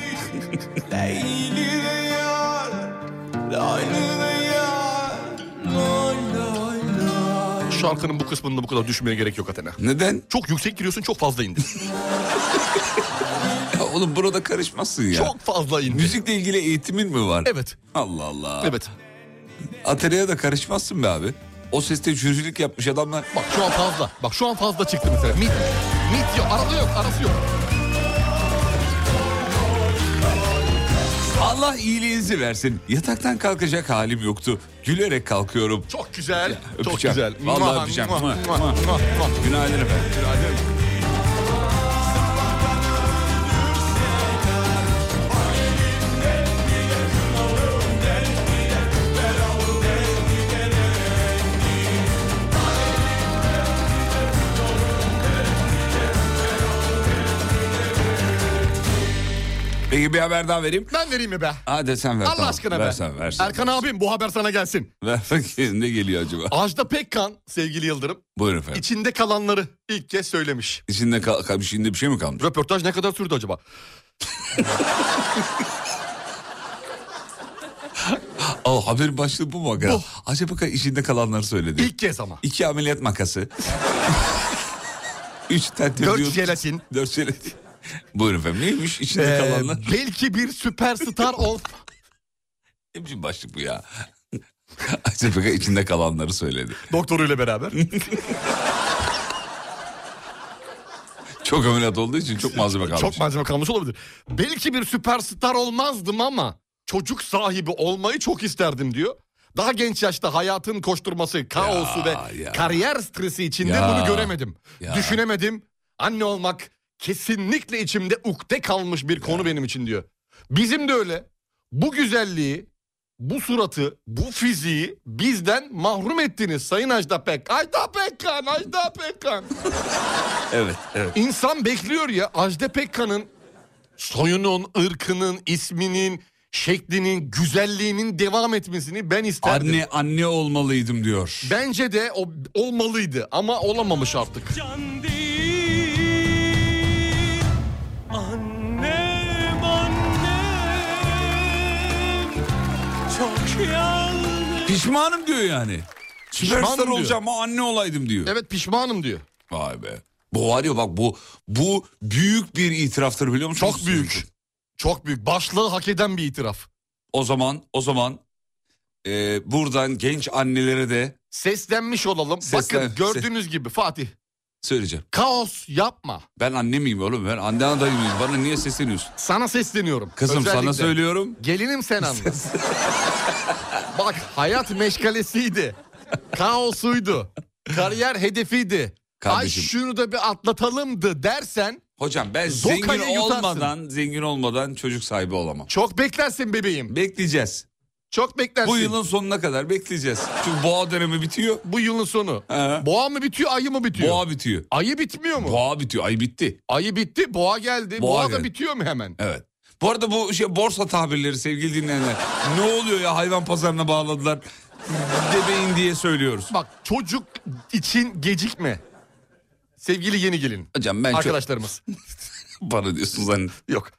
Şarkının bu kısmında bu kadar düşmeye gerek yok Athena.
Neden?
Çok yüksek giriyorsun çok fazla indin.
Ya oğlum burada karışmazsın ya.
çok fazla indin.
Müzikle ilgili eğitimin mi var?
Evet.
Allah Allah.
Evet.
Atölyeye de karışmazsın be abi. O seste jürilik yapmış adamlar.
Bak şu an fazla. Bak şu an fazla çıktı mesela. Mit. Mit yok. Arada yok. Arası yok.
Allah iyiliğinizi versin. Yataktan kalkacak halim yoktu. Gülerek kalkıyorum.
Çok güzel. çok
öpeceğim.
güzel.
Vallahi
Mua,
öpeceğim.
mua,
Mua, mua.
mua, mua, mua.
Günaydın efendim. Peki bir haber daha vereyim.
Ben vereyim mi be?
Hadi sen ver.
Allah
tamam.
aşkına be.
Versen, versen.
Erkan abim bu haber sana gelsin.
Ver bakayım ne geliyor acaba?
Ajda Pekkan sevgili Yıldırım
Buyurun efendim.
içinde kalanları ilk kez söylemiş.
İçinde, kal- kal- içinde bir şey mi kalmış?
Röportaj ne kadar sürdü acaba?
Aa, haberin başlığı bu mu? hakikaten?
Bu.
Acaba ka- içinde kalanları söyledi.
İlk kez ama.
İki ameliyat makası. Üç tertemiz.
Dört
yumurta-
jelatin.
Dört jelatin. Buyurun efendim neymiş içinde
Ee,
kalanlar?
belki bir süperstar ol.
Ne biçim başlık bu ya? Acaba içinde kalanları söyledi.
Doktoruyla beraber.
Çok ameliyat olduğu için çok malzeme kalmış.
Çok malzeme kalmış olabilir. Belki bir süperstar olmazdım ama çocuk sahibi olmayı çok isterdim diyor. Daha genç yaşta hayatın koşturması, kaosu
Ya,
ve
ya.
kariyer stresi içinde
Ya,
bunu göremedim.
ya.
Düşünemedim. Anne olmak kesinlikle içimde ukde kalmış bir konu benim için diyor. Bizim de öyle. Bu güzelliği, bu suratı, bu fiziği bizden mahrum ettiniz Sayın Ajda Pekkan. Ajda Pekkan, Ajda Pekkan.
Evet, evet.
İnsan bekliyor ya Ajda Pekkan'ın soyunun, ırkının, isminin, şeklinin, güzelliğinin devam etmesini ben isterdim.
Anne anne olmalıydım diyor.
Bence de o olmalıydı ama olamamış artık.
Can değil Annem annem Çok yalnız
Pişmanım diyor yani.
Pişmanım
Süperstar
diyor.
olacağım ama anne olaydım diyor.
Evet pişmanım diyor.
Vay be. Bu var ya bak bu bu büyük bir itiraftır biliyor musunuz?
Çok büyük. Çok büyük. Başlığı hak eden bir itiraf.
O zaman o zaman e, buradan genç annelere de
Seslenmiş olalım.
Seslen-
Bakın gördüğünüz gibi Fatih.
söyleyeceğim.
Kaos yapma.
Ben anne miyim oğlum? Ben anne adayım mıyım? Bana niye sesleniyorsun?
Sana sesleniyorum.
Kızım
Özellikle.
sana söylüyorum.
Gelinim sen anla. Bak hayat meşgalesiydi. Kaosuydu. Kariyer hedefiydi.
Kardeşim.
Ay şunu da bir atlatalımdı dersen
Hocam ben
Zoka'yı
zengin
yutarsın.
olmadan zengin olmadan çocuk sahibi olamam.
çok beklersin bebeğim.
Bekleyeceğiz.
Çok beklersin.
Bu yılın sonuna kadar bekleyeceğiz. Çünkü boğa dönemi bitiyor.
bu yılın sonu.
He.
Boğa mı bitiyor, ayı mı bitiyor?
Boğa bitiyor.
Ayı bitmiyor mu?
Boğa bitiyor. Ay bitti.
Ayı bitti, boğa geldi.
Boğa
Boğa,
geldi.
da bitiyor mu hemen?
Evet. Bu arada bu şey borsa tabirleri sevgili dinleyenler. ne oluyor ya hayvan pazarına bağladılar. Debeyin diye söylüyoruz.
Bak çocuk için gecikme. Sevgili yeni gelin.
Hocam ben
Arkadaşlarımız.
çok para diyorsunuz hani.
Yok.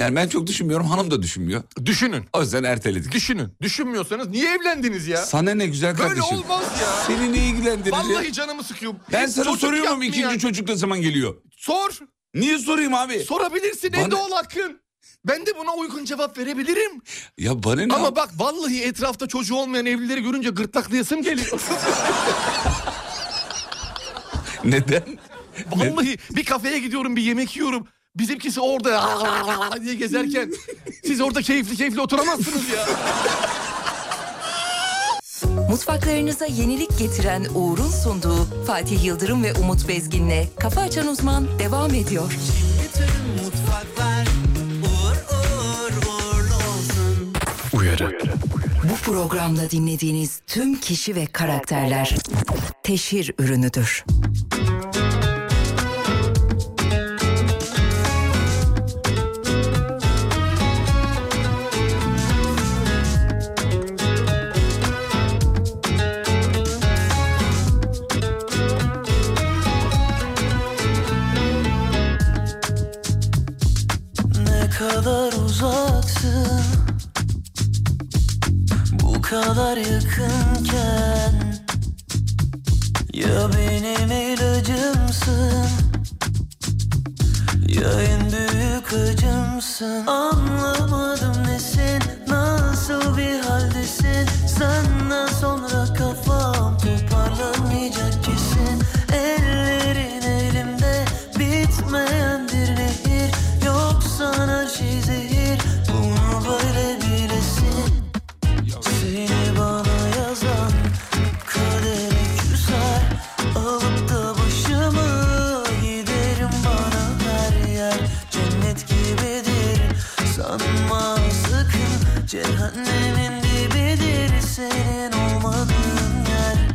Yani ben çok düşünmüyorum hanım da düşünmüyor.
Düşünün.
O yüzden erteledik.
Düşünün. Düşünmüyorsanız niye evlendiniz ya?
Sana ne güzel
Böyle
kardeşim.
olmaz ya.
Seni ne ilgilendirir?
Vallahi canımı sıkıyor.
ben
Hiç
sana
çocuk
soruyorum
yapmayan-
ikinci çocuk ne zaman geliyor?
Sor.
Niye sorayım abi?
Sorabilirsin
Bana-
en doğal hakkın. Ben de buna uygun cevap verebilirim.
ya bana ne?
Ama bak vallahi etrafta çocuğu olmayan evlileri görünce gırtlaklayasım geliyor.
Neden?
vallahi bir kafeye gidiyorum bir yemek yiyorum. Bizimkisi orada diye gezerken siz orada keyifli keyifli oturamazsınız ya.
Mutfaklarınıza yenilik getiren Uğur'un sunduğu Fatih Yıldırım ve Umut Bezgin'le Kafa Açan Uzman devam ediyor.
Mutfaklar
Programda dinlediğiniz tüm kişi ve karakterler teşhir ürünüdür.
Ne kadar uzaksın Bu kadar yakınken Ya benim ilacımsın Ya en büyük acımsın Anlamadım nesin Nasıl bir haldesin Senden sonra kafam Toparlanmayacak kesin Ellerin elimde Bitmeyen bir nehir Yoksan her şey zehir Bunu böyle bilesin seni bana yazan kadere küser Alıp da başımı giderim bana her yer Cennet gibidir sanma sakın Cehennemin dibidir senin olmadığın yer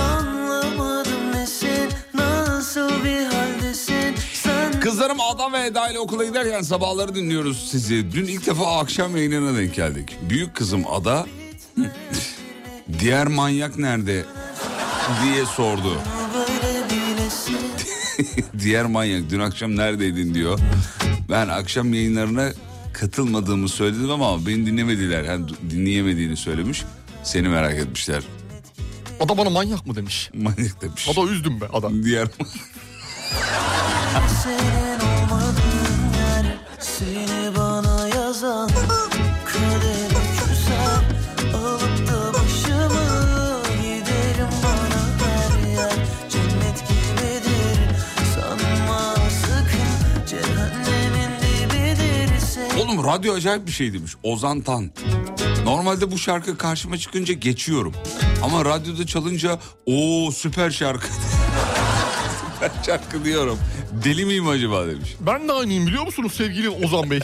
Anlamadım nesin nasıl bir haldesin Sen
Kızlarım Adam ve Eda ile okula giderken sabahları dinliyoruz sizi. Dün ilk defa akşam yayınına denk geldik. Büyük kızım Ada diğer manyak nerede diye sordu.
böyle bilesin
diğer manyak dün akşam neredeydin diyor. Ben akşam yayınlarına katılmadığımı söyledim ama beni dinlemediler. Yani du- dinleyemediğini söylemiş. Seni merak etmişler.
Adam bana manyak mı demiş.
Manyak demiş.
Ada üzdüm be adam.
Diğer
Senin olmadığın yer Seni bana yazan Kaderi güzel Alıp da başımı Giderim bana her yer Cennet gibidir Sanma sakın Cehennemin dibidir Seni
Oğlum radyo acayip bir şey demiş. Ozan Tan. Normalde bu şarkı karşıma çıkınca geçiyorum. Ama radyoda çalınca o süper şarkı. süper şarkı diyorum. Deli miyim acaba demiş.
Ben de aynıyım biliyor musunuz sevgili Ozan Bey?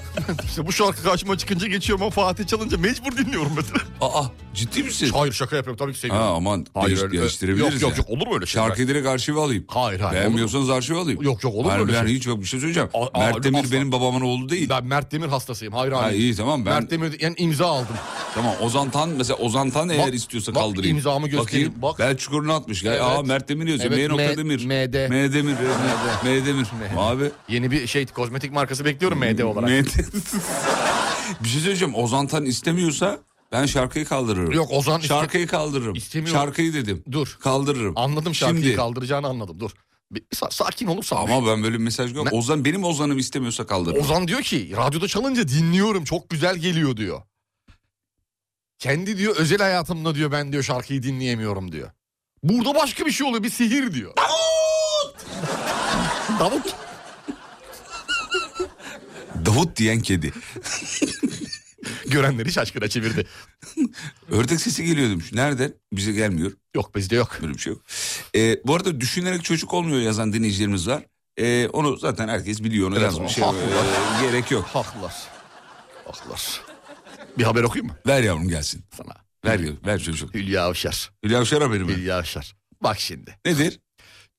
işte bu şarkı karşıma çıkınca geçiyorum ama Fatih çalınca mecbur dinliyorum mesela.
Aa ciddi misin?
Hayır şaka yapıyorum tabii ki seviyorum.
Ha, aman, değiş-
öyle-
değiştirebiliriz
Yok yok
ya.
yok olur mu öyle şey?
Şarkıyı direkt arşive alayım.
Hayır, hayır,
Beğenmiyorsanız arşive alayım.
Yok, yok, olur mu
Hayır,
öyle
ben
şey?
hiç yok bir şey söyleyeceğim.
Aa, aa,
Mert Demir
asla.
benim babamın oğlu değil.
Ben Mert Demir hastasıyım. Hayır
Ha,
hayır.
iyi tamam ben
Mert Demir yani imza aldım.
tamam Ozan Tan mesela Ozan Tan eğer
Bak,
istiyorsa
bak,
kaldırayım.
imzamı göstereyim,
Bakayım.
bak.
Bel çukuruna atmış. Gel,
Evet.
Aa Mert Demir yazıyor.
Evet,
M. nokta
M-
Demir.
MD.
M Demir. evet, M- M Demir. Abi.
Yeni bir şey kozmetik markası bekliyorum MD olarak.
MD. bir şey söyleyeceğim. Ozan Tan istemiyorsa ben şarkıyı kaldırırım.
Yok, Ozan iste-
Şarkıyı kaldırırım.
İstemiyor.
Şarkıyı dedim.
Dur.
Kaldırırım.
Anladım şarkıyı
Şimdi.
kaldıracağını anladım. Dur. Bir, sa- sakin olup sabır.
Ama ben böyle bir mesaj gör. Ozan benim Ozan'ım istemiyorsa kaldırırım.
Ozan diyor ki radyoda çalınca dinliyorum çok güzel geliyor diyor. Kendi diyor özel hayatımda diyor ben diyor şarkıyı dinleyemiyorum diyor. Burada başka bir şey oluyor bir sihir diyor. Davut! Davut.
Davut diyen kedi.
Görenleri şaşkına çevirdi. Ördek.
Ördek sesi geliyor demiş. Nereden? Bize gelmiyor.
Yok bizde yok.
Böyle bir şey yok. Ee, bu arada düşünerek çocuk olmuyor yazan dinleyicilerimiz var. Ee, onu zaten herkes biliyor. Onu
Evet,
yazmış. Ee,
haklılar.
gerek yok.
Haklar. Haklar. Bir haber okuyayım mı
Ver yavrum gelsin.
sana?
Ver yavrum. Ver çocuk.
Hülya Avşar.
Hülya Avşar haberi mi?
Hülya Avşar. Bak şimdi.
Nedir?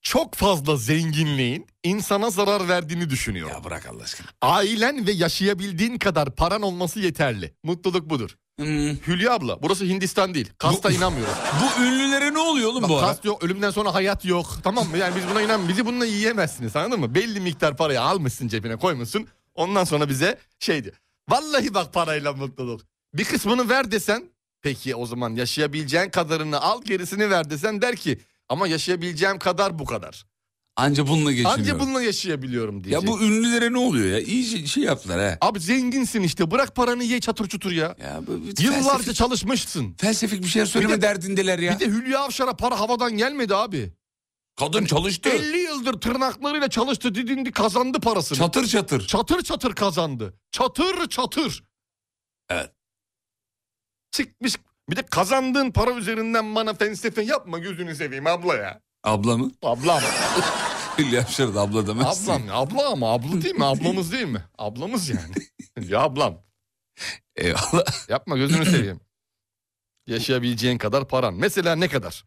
Çok fazla zenginliğin insana zarar verdiğini düşünüyorum.
Ya bırak Allah aşkına.
Ailen ve yaşayabildiğin kadar paran olması yeterli. Mutluluk budur.
Hmm.
Hülya abla burası Hindistan değil. Kasta inanmıyoruz.
Bu ünlülere ne oluyor oğlum
Bak,
bu ara?
kast yok, ölümden sonra hayat yok. Tamam mı? Yani biz buna inan, bizi bununla yiyemezsiniz anladın mı? Belli miktar parayı almışsın cebine koymuşsun. Ondan sonra bize şeydi. Vallahi bak parayla mutluluk. Bir kısmını ver desen, peki o zaman yaşayabileceğin kadarını al gerisini ver desen der ki ama yaşayabileceğim kadar bu kadar.
Anca bununla geçiniyor.
Anca bununla yaşayabiliyorum diyecek.
Ya bu ünlülere ne oluyor ya? İyice şey yaptılar ha.
Abi zenginsin işte bırak paranı ye çatır çutur ya.
Ya bu, bu
Yıllarca
felsefik,
çalışmışsın.
felsefik bir şey söyleme
Bir de-
derdindeler ya.
Bir de Hülya Avşar'a para havadan gelmedi abi.
Kadın çalıştı.
50 yıldır tırnaklarıyla çalıştı, didindi, kazandı parasını.
Çatır çatır.
çatır çatır kazandı. Çatır çatır.
Evet.
Çıkmış. Bir de kazandığın para üzerinden bana felsefe yapma gözünü seveyim abla ya.
Abla mı?
Ablam.
Hülya Avşar da abla demezsin.
ablam. ya, Abla ama abla değil mi? Ablamız değil mi? Ablamız yani. ya ablam.
Eyvallah.
Yapma gözünü seveyim. Yaşayabileceğin kadar paran. Mesela ne kadar?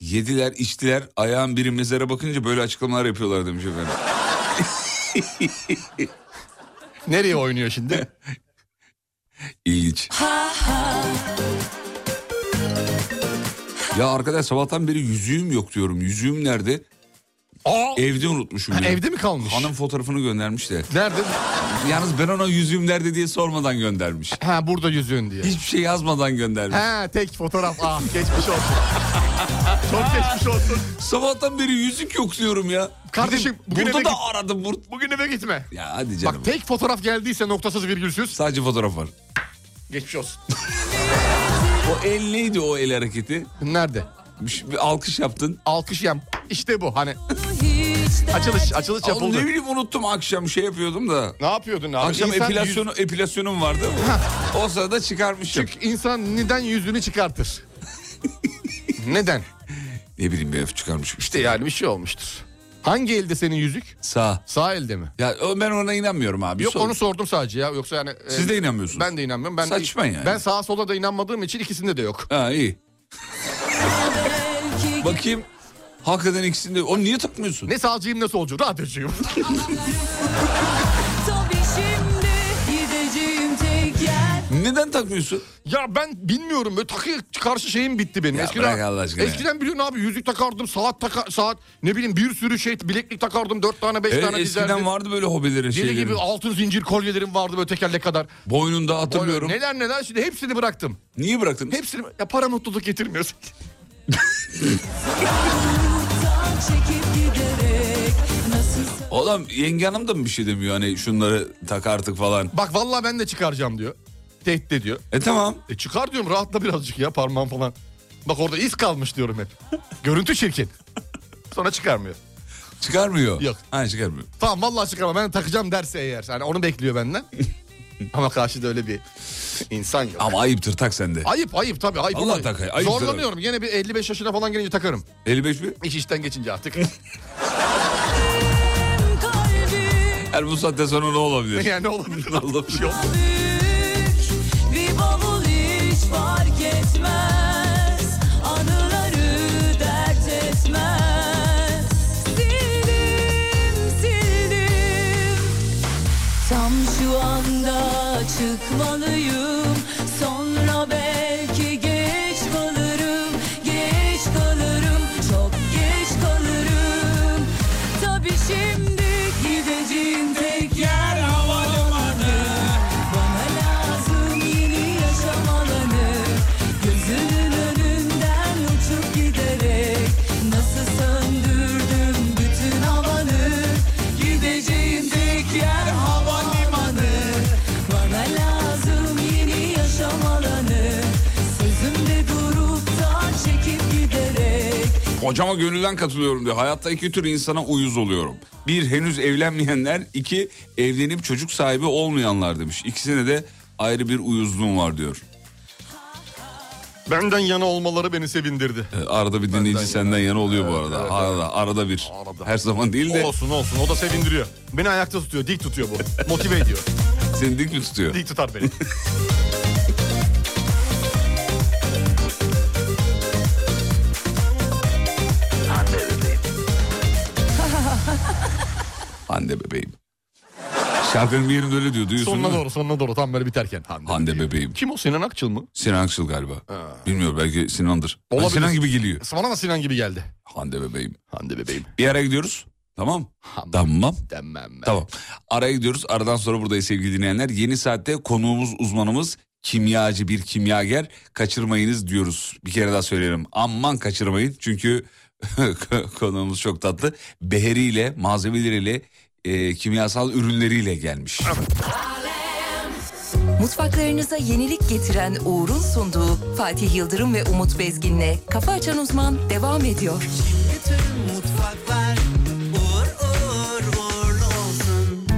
Yediler içtiler ayağın biri mezara bakınca böyle açıklamalar yapıyorlar demiş efendim.
Nereye oynuyor şimdi?
İlginç. Ya arkadaş sabahtan beri yüzüğüm yok diyorum. Yüzüğüm nerede?
Aa,
Evde unutmuşum. diyor.
evde mi kalmış?
Hanım fotoğrafını göndermiş de.
Nerede?
Yalnız ben ona yüzüğüm nerede diye sormadan göndermiş.
Ha burada yüzüğün diye.
Hiçbir şey yazmadan göndermiş.
Ha tek fotoğraf. Ah geçmiş olsun. Çok geçmiş olsun.
Sabahtan beri yüzük yok diyorum ya. Bir de
Kardeşim, bugün
burada
eve
da
git-
aradım. Bur...
Bugün eve gitme.
Ya hadi canım.
Bak tek fotoğraf geldiyse noktasız virgülsüz.
Sadece fotoğraf var.
Geçmiş olsun.
O el neydi o el hareketi?
Nerede?
Bir, şey- bir alkış yaptın.
Alkış yem. İşte bu hani.
Hiç de
Açılış açılış
Oğlum
yapıldı.
ne bileyim unuttum akşam şey yapıyordum da.
Ne yapıyordun abi?
Akşam
İnsan
epilasyonu epilasyonum vardı. o sırada çıkarmışım.
yüz- Çık insan neden yüzünü çıkartır? neden?
Ne bileyim bir herif çıkarmışım.
İşte yani bir şey olmuştur. Hangi elde senin yüzük?
Sağ.
Sağ elde mi?
Ya o- ben ona inanmıyorum abi.
Yok
Sor.
onu sordum sadece ya. Yoksa yani e,
Siz de inanmıyorsunuz.
ben de inanmıyorum. Ben
Saçma yani.
Ben sağa sola da inanmadığım için ikisinde de yok.
Ha iyi. Bakayım. Hakikaten ikisinde. O niye takmıyorsun?
Ne sağcıyım ne solcu, radyocuyum.
Tabii şimdi gideceğim tek yer
Neden takmıyorsun?
ya ben bilmiyorum böyle takı karşı şeyim bitti benim.
Ya
eskiden,
bırak Allah aşkına ya.
Eskiden biliyorsun abi yüzük takardım, saat taka, saat ne bileyim bir sürü şey bileklik takardım, dört tane beş
Evet,
tane
Ee, eskiden
dizerdim.
vardı böyle hobilerin
Deli
şeyleri.
gibi altın zincir kolyelerim vardı böyle tekerlek kadar.
Boynunda hatırlıyorum.
Böyle Neler neler şimdi hepsini bıraktım.
Niye bıraktın?
Hepsini ya para mutluluk getirmiyorsun.
Yoldan çekip giderek Nasıl
Oğlum yenge hanım da mı bir şey demiyor hani şunları tak artık falan.
Bak vallahi ben de çıkaracağım diyor. Tehdit ediyor.
E tamam.
E çıkar diyorum rahatla birazcık ya parmağım falan. Bak orada iz kalmış diyorum hep. Görüntü çirkin. Sonra çıkarmıyor.
Çıkarmıyor.
Yok.
Ha çıkarmıyor.
Tamam vallahi çıkarma ben takacağım derse eğer. Yani onu bekliyor benden. Ama karşıda öyle bir insan yok.
Ama ayıptır tak sen de.
Ayıp ayıp tabii ayıp.
Allah
Ama
tak, ayıp
Zorlanıyorum. Yine bir 55 yaşına falan gelince takarım.
55 mi?
İş işten geçince artık.
kalbim
Her bu saatte sonra ne olabilir?
yani ne olabilir? şey
Ne olabilir?
büyük Bir bavul hiç fark etmez Anıları dert etmez Sildim sildim Tam şu anda çıkmalıyım Sonra belki geç kalırım Geç kalırım Çok geç kalırım Tabi şimdi gideceğim tek yer havalimanı Bana lazım yeni yaşam alanı Gözünün önünden uçup giderek Nasıl söndürdüm bütün havanı Gideceğim tek yer havalimanı Bana lazım yeni yaşam alanı Sözümde durup da çekip giderek
Hocama gönülden katılıyorum diyor. Hayatta iki tür insana uyuz oluyorum. Bir henüz evlenmeyenler, iki evlenip çocuk sahibi olmayanlar demiş. İkisine de ayrı bir uyuzluğum var diyor.
Benden yana olmaları beni sevindirdi.
Ee, Arada bir dinleyici
yana.
senden yana oluyor bu arada.
evet,
arada, arada bir.
Arada.
Her zaman değil de
Olsun olsun o da sevindiriyor. Beni ayakta tutuyor, dik tutuyor bu. Motive ediyor.
seni dik mi tutuyor?
Dik tutar beni.
Hande bebeğim. Şarkının bir yerinde öyle diyor. Duyuyorsun
sonuna
değil mi?
doğru, sonuna doğru tam böyle biterken. Hande.
Hande bebeğim.
Kim o Sinan Akçıl mı?
Sinan Akçıl galiba. Bilmiyorum belki Sinan'dır. Hani
Olabilir.
Sinan gibi geliyor.
Bana da Sinan gibi geldi.
Hande bebeğim.
Hande bebeğim.
Bir ara gidiyoruz. Tamam.
Hande.
Tamam.
Demem ben.
Tamam. Araya gidiyoruz. Aradan sonra buradayız sevgili dinleyenler. Yeni saatte konuğumuz uzmanımız kimyacı bir kimyager. Kaçırmayınız diyoruz. Bir kere daha söyleyelim. Aman kaçırmayın. Çünkü konuğumuz çok tatlı. Beheriyle, malzemeleriyle, e, kimyasal ürünleriyle gelmiş.
Mutfaklarınıza yenilik getiren Uğur'un sunduğu Fatih Yıldırım ve Umut Bezgin'le Kafa Açan Uzman devam ediyor.
Bütün mutfaklar uğur uğur uğurlu olsun.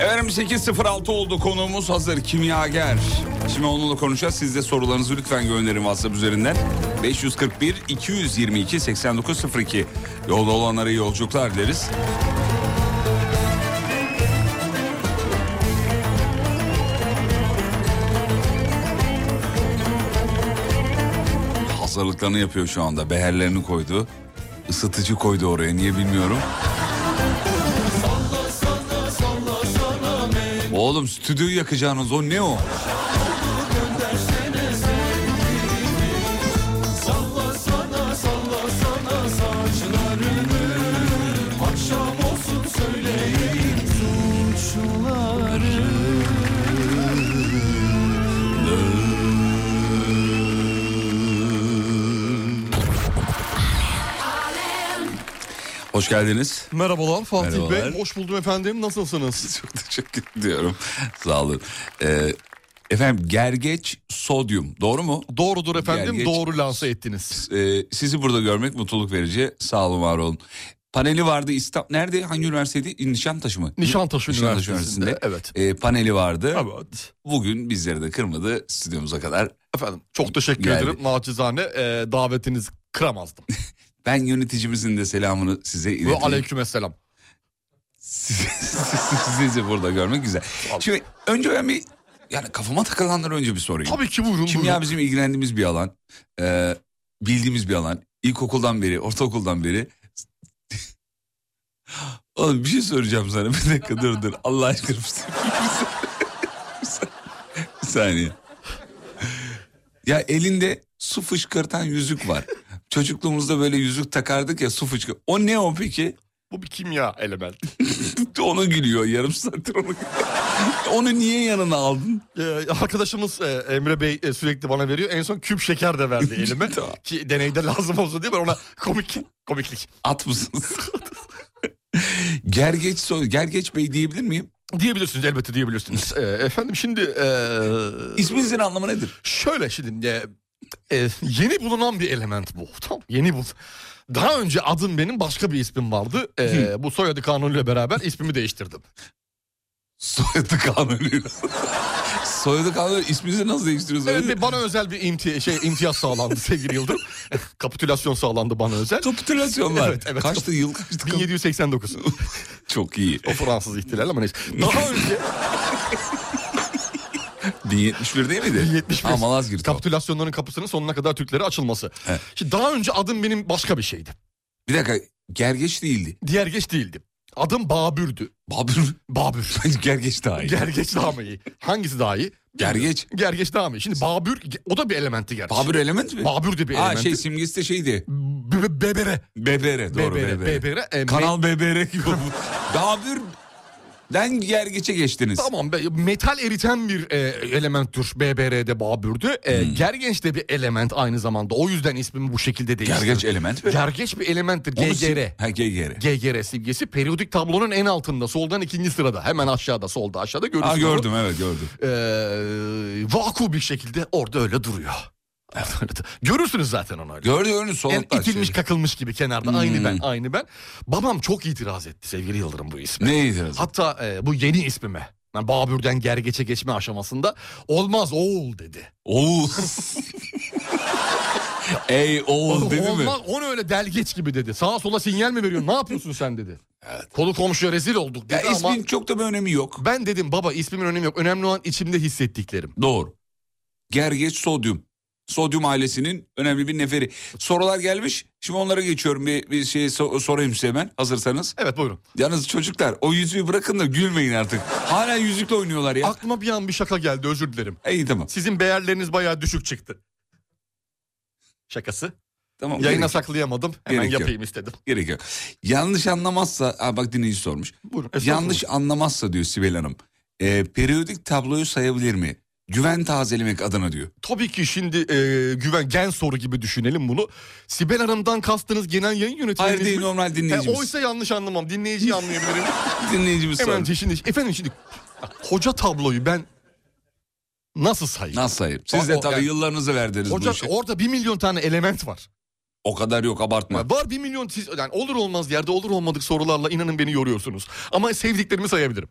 Efendim 8.06 oldu konuğumuz hazır kimyager. Şimdi onunla konuşacağız. Siz de sorularınızı lütfen gönderin WhatsApp üzerinden. 541 222 8902. Yolda olanlara iyi yolculuklar dileriz. Hazırlıklarını yapıyor şu anda. Beherlerini koydu. Isıtıcı koydu oraya niye bilmiyorum. Oğlum stüdyoyu yakacağınız o ne o? Hoş geldiniz.
Merhabalar Fatih
Merhabalar.
Bey. Hoş buldum efendim. Nasılsınız?
Çok teşekkür ediyorum. Sağ olun. Ee, efendim gergeç sodyum doğru mu?
Doğrudur efendim.
Gergeç.
Doğru lanse ettiniz.
Ee, sizi burada görmek mutluluk verici. Sağ olun var olun. Paneli vardı İstanbul. Nerede? Hangi üniversiteydi? Nişantaşı mı?
Nişantaşı
Nişantaşı
Üniversitesi'nde, evet.
Ee, paneli vardı.
Evet.
Bugün bizleri de kırmadı stüdyomuza kadar.
Efendim çok teşekkür
Geldi.
ederim. Naçizane e, davetiniz kıramazdım.
Ben yöneticimizin de selamını size
Ve
iletiyorum.
aleykümselam.
Sizi- Sizi burada görmek güzel. Şimdi önce ben bir yani kafama takılanlar önce bir sorayım.
Tabii ki buyurun
Kimya
buyurun.
bizim ilgilendiğimiz bir alan. Ee, bildiğimiz bir alan. İlkokuldan beri, ortaokuldan beri. Oğlum bir şey soracağım sana. Bir dakika dur dur. Allah aşkına. bir saniye. Bir saniye. Ya elinde su fışkırtan yüzük var. Çocukluğumuzda böyle yüzük takardık ya su fışkır. O ne o peki?
Bu bir kimya elementi.
Ona gülüyor yarım saattir onu. onu niye yanına aldın?
Ee, arkadaşımız e, Emre Bey e, sürekli bana veriyor. En son küp şeker de verdi elime.
Tamam.
ki deneyde lazım olsun diye ben ona komik komiklik
At mısınız? gergeç soy, gergeç bey diyebilir miyim?
diyebilirsiniz elbette diyebilirsiniz. Ee, efendim şimdi e,
İsminizin anlamı nedir?
şöyle şimdi e, e, yeni bulunan bir element bu. Tamam yeni bul. Daha önce adım benim başka bir ismim vardı. Ee, bu soyadı kanunuyla beraber ismimi değiştirdim.
Soyadı kanunu. Soyadı kanunu isminizi nasıl değiştiriyorsunuz?
Evet, bir- bana özel bir imti şey imtiyaz sağlandı sevgili Yıldırım. Kapitülasyon sağlandı bana özel.
Kapitülasyonlar.
Evet, evet.
Kaçtı yıl kaçtı?
1789.
Çok iyi.
o Fransız ihtilali ama neyse. Daha önce
1071 değil miydi?
1071.
Ha, Malazgirt. o.
kapitülasyonların kapısının sonuna kadar Türklere açılması.
Evet.
Şimdi daha önce adım benim başka bir şeydi.
Bir dakika gergeç değildi.
Diğer geç değildim. Adım Babür'dü.
Babür
Babür.
bence gergeç daha iyi.
Gergeç daha mı iyi? Hangisi daha iyi?
Gergeç.
Gergeç daha mı iyi? Şimdi Babür o da bir elementi gerçi.
Babür element mi?
Babür de bir
Ha
elementi.
şey simgesi de şeydi.
B- b- bebere.
Bebere doğru
bebere.
bebere.
Bebere. e,
Kanal BBR gibi. Babür'den gergeçe geçtiniz.
Tamam be- metal eriten bir e, elementtir BBR'de Babür'dü. E,
Hmm.
Gergenç de bir element aynı zamanda. O yüzden ismimi bu şekilde değiştirdim.
Gergeç element mi?
Gergeç bir elementtir.
Onu
GGR.
sim- Ha GGR.
GGR simgesi periyodik tablonun en altında soldan ikinci sırada hemen aşağıda solda aşağıda görürsünüz.
Ha
onu.
gördüm evet gördüm.
Ee, vaku bir şey. şekilde orada öyle duruyor. Öyle de- görürsünüz zaten onu öyle.
Gördüm gördüm
Yani
soluklar.
itilmiş
şey. Hmm.
kakılmış gibi kenarda aynı ben aynı ben. Babam çok itiraz etti sevgili Yıldırım bu isme.
Ne itiraz?
Hatta e, bu yeni ismime. Yani Babür'den gergeçe geçme aşamasında olmaz oğul dedi.
Oğuz. Ey Oğuz dedi mi?
olmaz onu öyle delgeç gibi dedi. Sağa sola sinyal mi veriyorsun ne yapıyorsun sen dedi. Kolu komşuya rezil olduk dedi
Ya
ama
ismin çok da bir önemi yok.
ben dedim baba ismimin önemi yok. Önemli olan içimde hissettiklerim.
Doğru. Gergeç sodyum. Sodyum ailesinin önemli bir neferi. Sorular gelmiş. Şimdi onlara geçiyorum. Bir, bir şey so- sorayım size hemen hazırsanız.
Evet buyurun.
Yalnız çocuklar o yüzüğü bırakın da gülmeyin artık. Hala yüzükle oynuyorlar ya.
Aklıma bir an bir şaka geldi özür dilerim.
İyi tamam.
Sizin beğerleriniz bayağı düşük çıktı. Şakası.
Tamam.
Yayına
gerek-
saklayamadım. Hemen
Gerek yok.
yapayım istedim.
Gerek yok. Yanlış anlamazsa, ha bak dinleyici sormuş.
Buyurun.
Yanlış anlamazsa diyor Sibel Hanım. e, periyodik tabloyu sayabilir mi? Güven tazelemek adına diyor.
Tabii ki şimdi e, güven gen soru gibi düşünelim bunu. Sibel Hanım'dan kastınız genel yayın yönetmeni.
Hayır değil normal
E,
dinleyicimiz.
oysa yanlış anlamam. Dinleyiciyi anlayabilirim.
Dinleyicimiz
Hemen
sormuş.
şimdi. Efendim şimdi. Hoca tabloyu ben nasıl sayayım?
Nasıl sayayım? Siz
O-
de
o-
tabii
yani-
yıllarınızı verdiniz bu
Hoca
işe.
orada bir milyon tane element var.
O kadar yok abartma.
Var bir milyon siz yani olur olmaz yerde olur olmadık sorularla inanın beni yoruyorsunuz. Ama sevdiklerimi sayabilirim.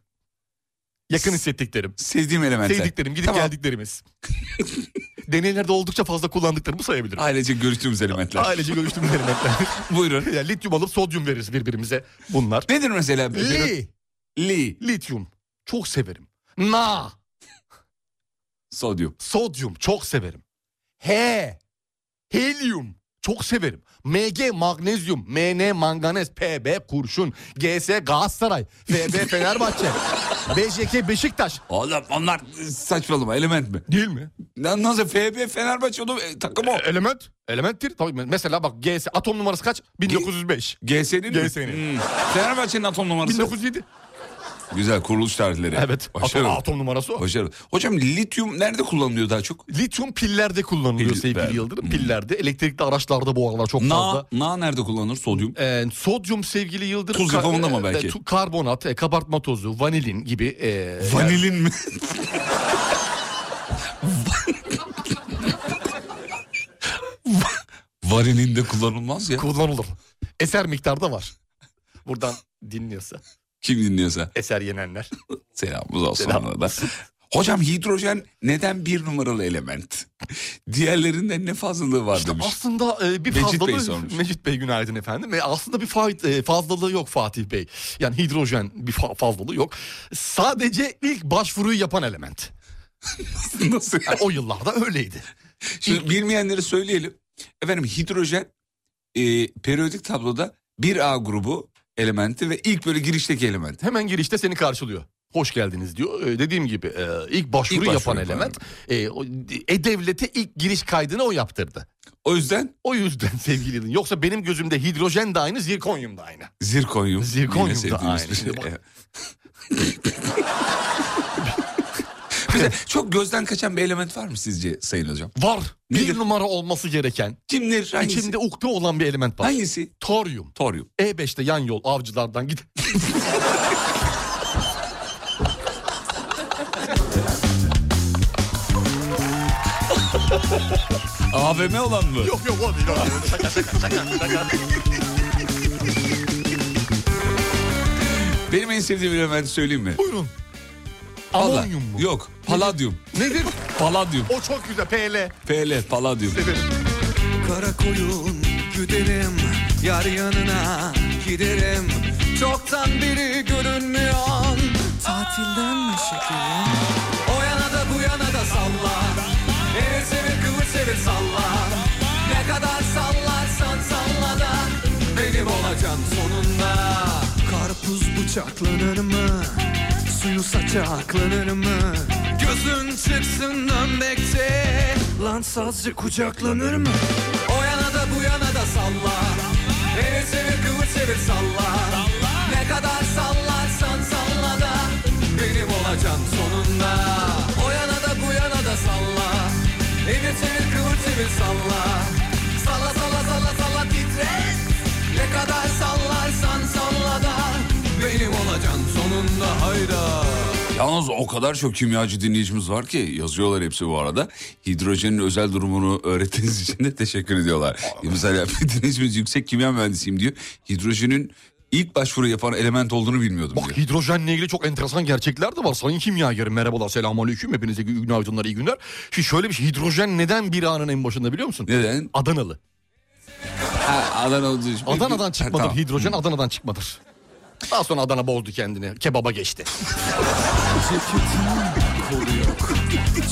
Yakın hissettiklerim.
Sevdiğim elementler.
Sevdiklerim, gidip
Tamam.
geldiklerimiz. Deneylerde oldukça fazla kullandıklarımı sayabilirim.
Ailece görüştüğümüz elementler.
Ailece görüştüğümüz elementler.
Buyurun.
Ya lityum alıp sodyum veririz birbirimize. Bunlar.
Nedir mesela?
Li.
Li.
Lityum. Çok severim. Na.
Sodyum.
Sodyum. Çok severim. He. Helyum. Çok severim. Mg magnezyum, Mn manganez, Pb kurşun, Gs Galatasaray, Fb Fenerbahçe, Bjk Beşiktaş.
Oğlum onlar saçmalama element mi?
Değil mi?
Lan Nasıl FB Fenerbahçe oğlum e, takım o.
Element. Elementtir. Tabii mesela bak GS atom numarası kaç? 1905.
GS'nin mi?
GS'nin.
Hmm. Fenerbahçe'nin atom numarası.
1907.
Güzel kuruluş tarihleri.
Evet.
Başarılı.
Atom, atom numarası o.
Başarılı. Hocam lityum nerede kullanılıyor daha çok?
Lityum pillerde kullanılıyor
Pil- ben-
sevgili Yıldırım. Pillerde, elektrikli araçlarda bu aralar çok
Na,
fazla.
na nerede kullanılır? Sodyum.
Ee, sodyum sevgili Yıldırım.
Tuz
ka-
yapımında mı
e,
belki?
tu- karbonat, e, kabartma tozu, vanilin gibi. e,
Vanilin mi? Va- Varilin de kullanılmaz ya.
kullanılır. Eser miktarda var. Buradan dinliyorsa
Kim dinliyorsa
eser yenenler.
selamımız olsun
Selam.
ona da. Hocam hidrojen neden bir numaralı element? Diğerlerinden ne fazlalığı var
İşte
demiş.
aslında e, bir
Mecit
fazlalığı...
Bey sormuş.
Mecit Bey günaydın efendim. E, aslında bir fa- e, fazlalığı yok Fatih Bey. Yani hidrojen bir fa- fazlalığı yok. Sadece ilk başvuruyu yapan element.
Nasıl?
Yani o yıllarda öyleydi.
Şimdi bilmeyenleri söyleyelim. Efendim hidrojen e, periyodik tabloda 1A grubu elementi ve ilk böyle girişteki element.
Hemen girişte seni karşılıyor. Hoş geldiniz diyor. Ee, dediğim gibi e, ilk başvuru
İlk başvuru
yapan
yapan
element e, o- e, devlete ilk giriş kaydını o yaptırdı.
O yüzden
O yüzden sevgili yılın. Yoksa benim gözümde hidrojen de aynı, zirkonyum da aynı.
zirkonyum.
Zirkonyum
Yine
da
sevdiğimiz
aynı.
bir şey.
Bak.
Evet. Bize çok gözden kaçan bir element var mı sizce Sayın Hocam?
Var.
Nedir?
Bir numara olması gereken,
Kimdir? Hangisi?
içinde ukde olan bir element var.
Hangisi?
Toryum.
Toryum.
E5'te yan yol avcılardan git.
AVM olan mı?
yok yok o değil. o değil. Şaka, şaka, şaka, şaka.
Benim en sevdiğim elementi söyleyeyim mi?
Buyurun.
Valla.
Amonyum mu?
Yok. Paladyum.
Nedir?
Paladyum.
O çok güzel. PL.
PL. Paladyum.
Severim.
Kara koyun güderim Yar yanına giderim Çoktan biri görünmüyor Tatilden mi şekerim? O yana da bu yana da salla Evet sevir kıvır sevir salla Ne kadar sallarsan salla da Benim olacağım sonunda Karpuz bıçaklanır mı? Suyu saça aklanır mı? Gözün çıksın dönmekte Lan sazcı kucaklanır mı? O yana da bu yana da salla Evet sevir kıvır çevir salla Ne kadar sallarsan salla da Benim olacağım sonunda O yana da bu yana da salla Evet sevir kıvır çevir salla Salla salla salla salla titret Ne kadar sallarsan salla da Benim olacağım sonunda hayda
Yalnız o kadar çok kimyacı dinleyicimiz var ki yazıyorlar hepsi bu arada. Hidrojenin özel durumunu öğrettiğiniz için de teşekkür ediyorlar. E, Mesela bir dinleyicimiz yüksek kimya mühendisiyim diyor. Hidrojenin ilk başvuru yapan element olduğunu bilmiyordum diyor.
Bak hidrojenle ilgili çok enteresan gerçekler de var. Sayın kimyagerim merhabalar selamun aleyküm. Hepinize gü- günaydınlar iyi günler. Şimdi şöyle bir şey hidrojen neden bir anın en başında biliyor musun?
Neden?
Adanalı.
Ha, Adana'dan,
Adana'dan
Ha,
çıkmadır.
tamam.
Hidrojen Adana'dan çıkmadır. Daha sonra Adana bozdu kendini. Kebaba geçti.
Ceketin kolu yok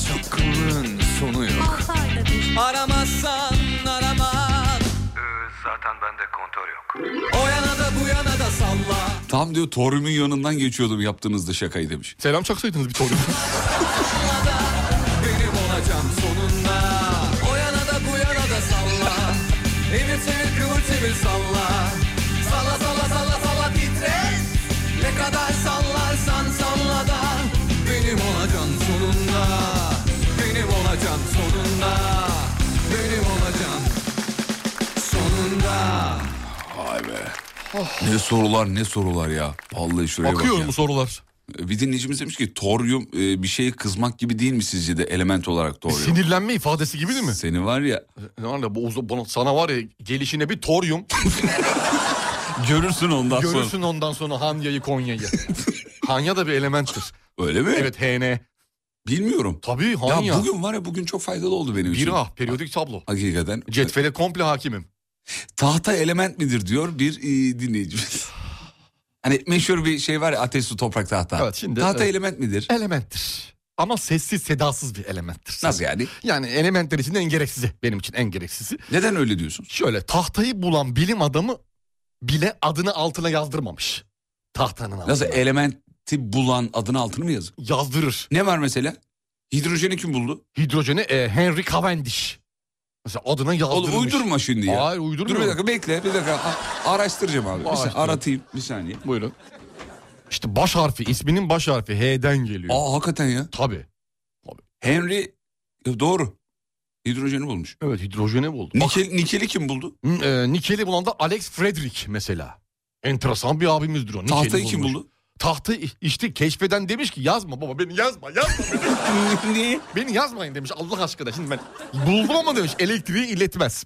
Çakılın sonu yok Aramazsan araman
zaten bende kontör yok.
O yana da bu yana da salla
Tam diyor Toryum'un yanından geçiyordum yaptığınızda şakayı demiş.
Selam çaksaydınız bir torun.
Benim olacağım sonunda O yana da bu yana da salla Evir çevir kıvır çevir salla Salla salla salla salla titret Ne kadar sallarsan salla da Benim olacağım sonunda Benim olacağım sonunda Benim olacağım sonunda
Vay be. Ne sorular ne sorular ya. Vallahi şuraya bak
Bakıyor
ya. E,
mu sorular?
Bir dinleyicimiz demiş ki toryum e, bir şeye kızmak gibi değil mi sizce de element olarak toryum?
Sinirlenme ifadesi gibi değil mi? E,
Seni var ya
Ne var ya, bu, uz- bunu- sana var ya gelişine bir toryum.
görürsün ondan sonra.
Görürsün ondan sonra Hanya'yı Konya'yı. Hanya da bir elementtir.
Öyle mi?
Evet HN.
Bilmiyorum.
Tabii
Ya
Hanya.
bugün var ya bugün çok faydalı oldu benim için.
Bira, hani periyodik tablo.
Hakikaten.
Cetvele komple hakimim.
Tahta element midir diyor bir e, dinleyicimiz. Hani meşhur bir şey var ya ateş su toprak tahta.
Evet, şimdi-
tahta
evet.
element midir?
Elementtir. Ama sessiz sedasız bir elementtir.
Nasıl yani?
Yani elementler içinde en gereksizi. Benim için en gereksizi.
Neden öyle diyorsun?
Şöyle tahtayı bulan bilim adamı bile adını altına yazdırmamış. Tahtanın altına.
Nasıl elementi bulan adını altını mı yazın?
Yazdırır.
Ne var mesela? Hidrojeni kim buldu?
Hidrojeni e, Henry Cavendish. Mesela adına yazdırmış.
Oğlum uydurma şimdi ya.
Hayır
Dur bir
uydurmuyorum.
dakika bekle bir dakika A- araştıracağım abi. Bir saniye,
Araştır.
aratayım bir saniye.
Buyurun. İşte baş harfi, isminin baş harfi H'den geliyor.
Aa hakikaten ya.
Tabii.
Henry Ya doğru. Hidrojeni bulmuş.
Evet hidrojeni buldu. Bak,
Nikel, nikeli kim buldu?
Hı, e, nikeli bulan da Alex Frederick mesela. Enteresan bir abimizdir o. Nikeli
Tahtayı kim
bulmuş.
buldu?
Tahtı işte keşfeden demiş ki yazma baba beni yazma yazma.
Niye?
beni yazmayın demiş Allah aşkına. Şimdi ben buldum ama demiş elektriği iletmez.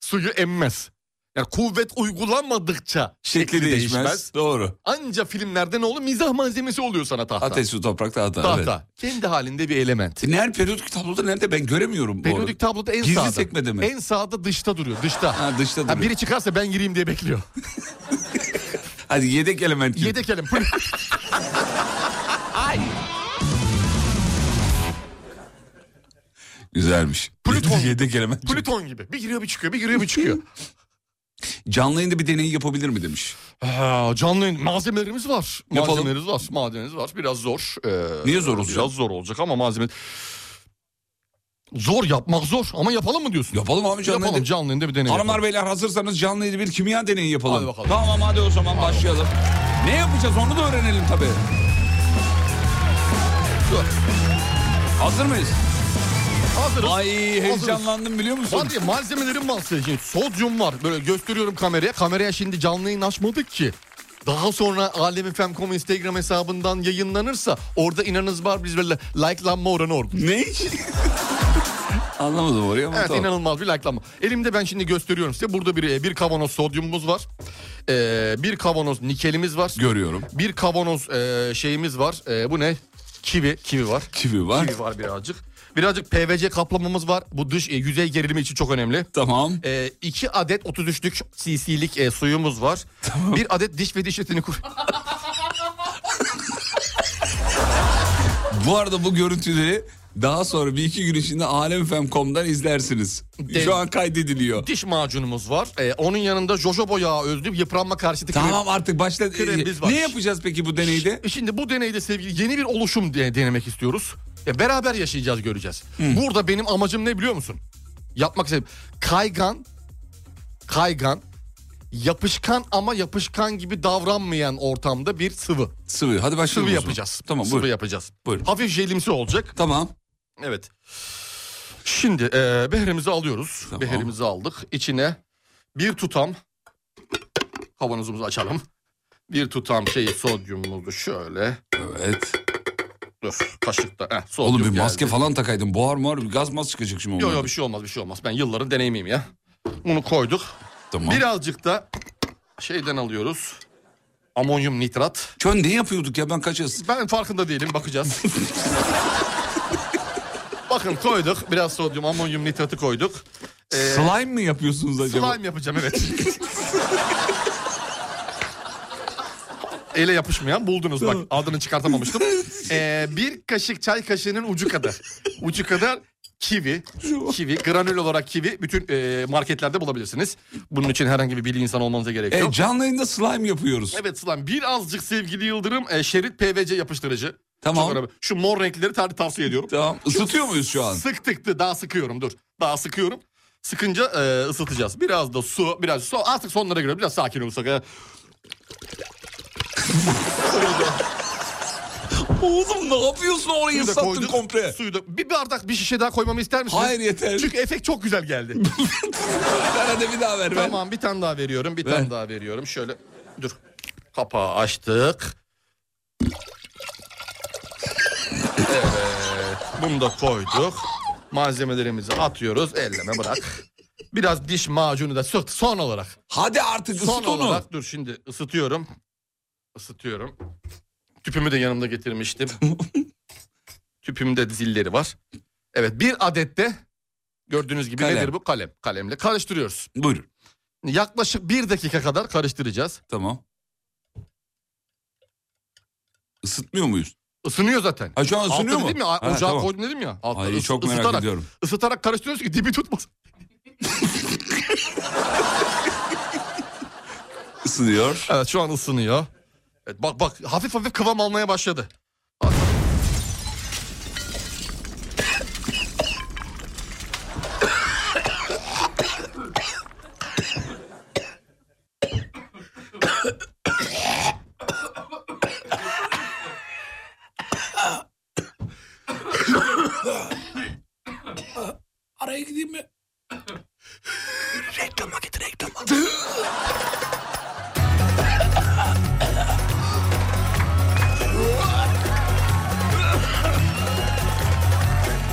Suyu emmez. Yani kuvvet uygulanmadıkça
Şekli değişmez. Doğru.
Anca filmlerde ne olur? Mizah malzemesi oluyor sana tahta.
Ateş, su, toprak, tahta.
tahta.
Evet. E,
Kendi halinde bir element.
Nerede periyodik tabloda nerede ben göremiyorum bu
Periyodik tabloda en
Gizli
sağda.
sekmede mi?
En sağda dışta duruyor. Dışta.
Ha, dışta
Ha,
duruyor.
biri çıkarsa ben gireyim diye bekliyor.
arada. Hadi yedek element. kim?
Yedek elim.
Güzelmiş.
Plüton.
yedek element. kim?
Plüton gibi. Bir giriyor bir çıkıyor. Bir giriyor bir çıkıyor.
Canlı yayında bir deney yapabilir mi demiş.
Ha, canlı yayın- malzemelerimiz var.
Yapalım.
Malzemelerimiz var. Malzemelerimiz var. Biraz zor. Ee,
Niye zor olacak?
Biraz zor olacak ama malzeme... Zor yapmak zor ama yapalım mı diyorsun?
Yapalım abi canlı
Yapalım
yayında.
canlı yayında bir deney
Hanımlar
yapalım.
beyler hazırsanız canlı yayında bir kimya deneyi yapalım.
Hadi bakalım.
Tamam hadi o zaman başlayalım. Ne yapacağız onu da öğrenelim tabii. Dur. Hazır mıyız?
Hazırız.
Ay
Hazırız.
heyecanlandım biliyor musun?
Hadi malzemelerin bahsedeceğim. Sodyum var. Böyle gösteriyorum kameraya. Kameraya şimdi canlı yayın açmadık ki. Daha sonra alemifem.com Instagram hesabından yayınlanırsa orada inanınız var biz böyle likelanma oranı orada.
Ne? Anlamadım orayı ama
Evet
tamam.
inanılmaz bir likelanma. Elimde ben şimdi gösteriyorum size. Burada bir, e, bir kavanoz sodyumumuz var. Ee, bir kavanoz nikelimiz var.
Görüyorum.
bir kavanoz e, şeyimiz var. E, bu ne? Kivi. Kivi var.
Kivi var.
Kivi var birazcık. Birazcık PVC kaplamamız var. Bu dış e, yüzey gerilimi için çok önemli.
Tamam.
2 adet 33'lük cc'lik e, suyumuz var. Bir adet diş ve diş etini kur.
Bu arada bu görüntüleri daha sonra bir iki gün içinde alemfem.com'dan izlersiniz.
De-
Şu an kaydediliyor.
diş macunumuz var. E, onun yanında jojoba yağı özlü yıpranma karşıtı krem.
Tamam artık başla. Ee,
Kremimiz var.
Ne yapacağız peki bu deneyde?
E, Şimdi bu deneyde sevgili yeni bir oluşum de- denemek istiyoruz. Ya beraber yaşayacağız göreceğiz. Burada benim amacım ne biliyor musun? Yapmak istedim. Kaygan, kaygan, yapışkan ama yapışkan gibi davranmayan ortamda bir sıvı.
Sıvı. Hadi başlayalım.
Sıvı
o zaman.
yapacağız.
Tamam
Sıvı
buyur.
yapacağız.
Buyurun.
Hafif jelimsi olacak.
Tamam.
Evet. Şimdi e, beherimizi alıyoruz.
Tamam.
Beherimizi aldık. İçine bir tutam kavanozumuzu açalım. Bir tutam şey sodyumumuzu şöyle
Evet.
Dur kaşıkta. Heh, sodyum
Oğlum bir maske
geldi.
falan takaydın. Buhar muhar bir gaz mas çıkacak şimdi
Yok
onlardan.
yok bir şey olmaz bir şey olmaz. Ben yılların deneyimiyim ya. Bunu koyduk.
Tamam.
Birazcık da şeyden alıyoruz. Amonyum nitrat.
Çön ne yapıyorduk ya ben kaçız.
Ben farkında değilim bakacağız. Bakın koyduk. Biraz sodyum amonyum nitratı koyduk. Ee,
Slime mi yapıyorsunuz acaba?
slime yapacağım evet. Ele yapışmayan buldunuz bak adını çıkartamamıştım. Ee, bir kaşık çay kaşığının ucu kadar. Ucu kadar kivi, kivi, granül olarak kivi bütün e, marketlerde bulabilirsiniz. Bunun için herhangi bir bilim insanı olmanıza gerek
E,
yok.
canlı yayında slime yapıyoruz.
Evet Sılan birazcık sevgili Yıldırım e, şerit PVC yapıştırıcı.
Tamam.
Çok önemli. Şu mor renkleri tar- tavsiye ediyorum.
Tamam. Isıtıyor muyuz şu an?
Sık tıktı daha sıkıyorum dur. Daha sıkıyorum. Sıkınca e, ısıtacağız. Biraz da su, biraz su. Artık sonlara göre biraz sakin olursak. e.
Oğlum ne yapıyorsun orayı
Suyu da
ıslattın
koyduk,
komple.
Suyu da, bir bardak bir şişe daha koymamı ister misiniz?
Hayır yeter.
Çünkü efekt çok güzel geldi.
Ver hadi bir daha ver. ver.
tamam bir tane daha veriyorum. Bir
Ver.
tane daha veriyorum. Şöyle dur. Kapağı açtık. Evet. Bunu da koyduk. Malzemelerimizi atıyoruz. Elleme bırak. Biraz diş macunu da sık son olarak.
Hadi artık
Son
ısıt onu.
olarak dur şimdi ısıtıyorum. Isıtıyorum. Tüpümü de yanımda getirmiştim. Tüpümde zilleri var. Evet bir adet de gördüğünüz gibi
Kalem.
nedir bu? Kalem. Kalemle karıştırıyoruz.
Buyurun.
Yaklaşık bir dakika kadar karıştıracağız.
Tamam. Isıtmıyor muyuz?
Isınıyor zaten.
Ha şu an
Altta
ısınıyor mu?
dedim ya
Ha,
ocağa
tamam.
koydum dedim ya. Altta
Ay,
ıs-
çok merak
ısıtarak,
ediyorum.
Isıtarak karıştırıyoruz ki dibi tutmasın.
Isınıyor.
Evet şu an ısınıyor. Evet, bak bak hafif hafif kıvam almaya başladı.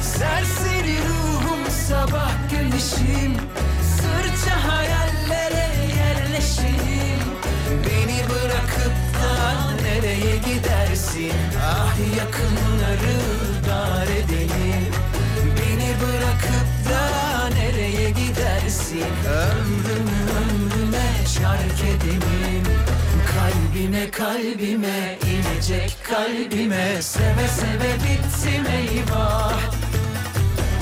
Serseri ruhum sabah güneşim Sırça hayallere yerleşim Beni bırakıp da nereye gidersin Ah yakınları dar edelim Beni bırakıp da nereye gidersin Ömrümü ömrüme şark edelim Kalbime kalbime inecek kalbime Seve seve bitsin eyvah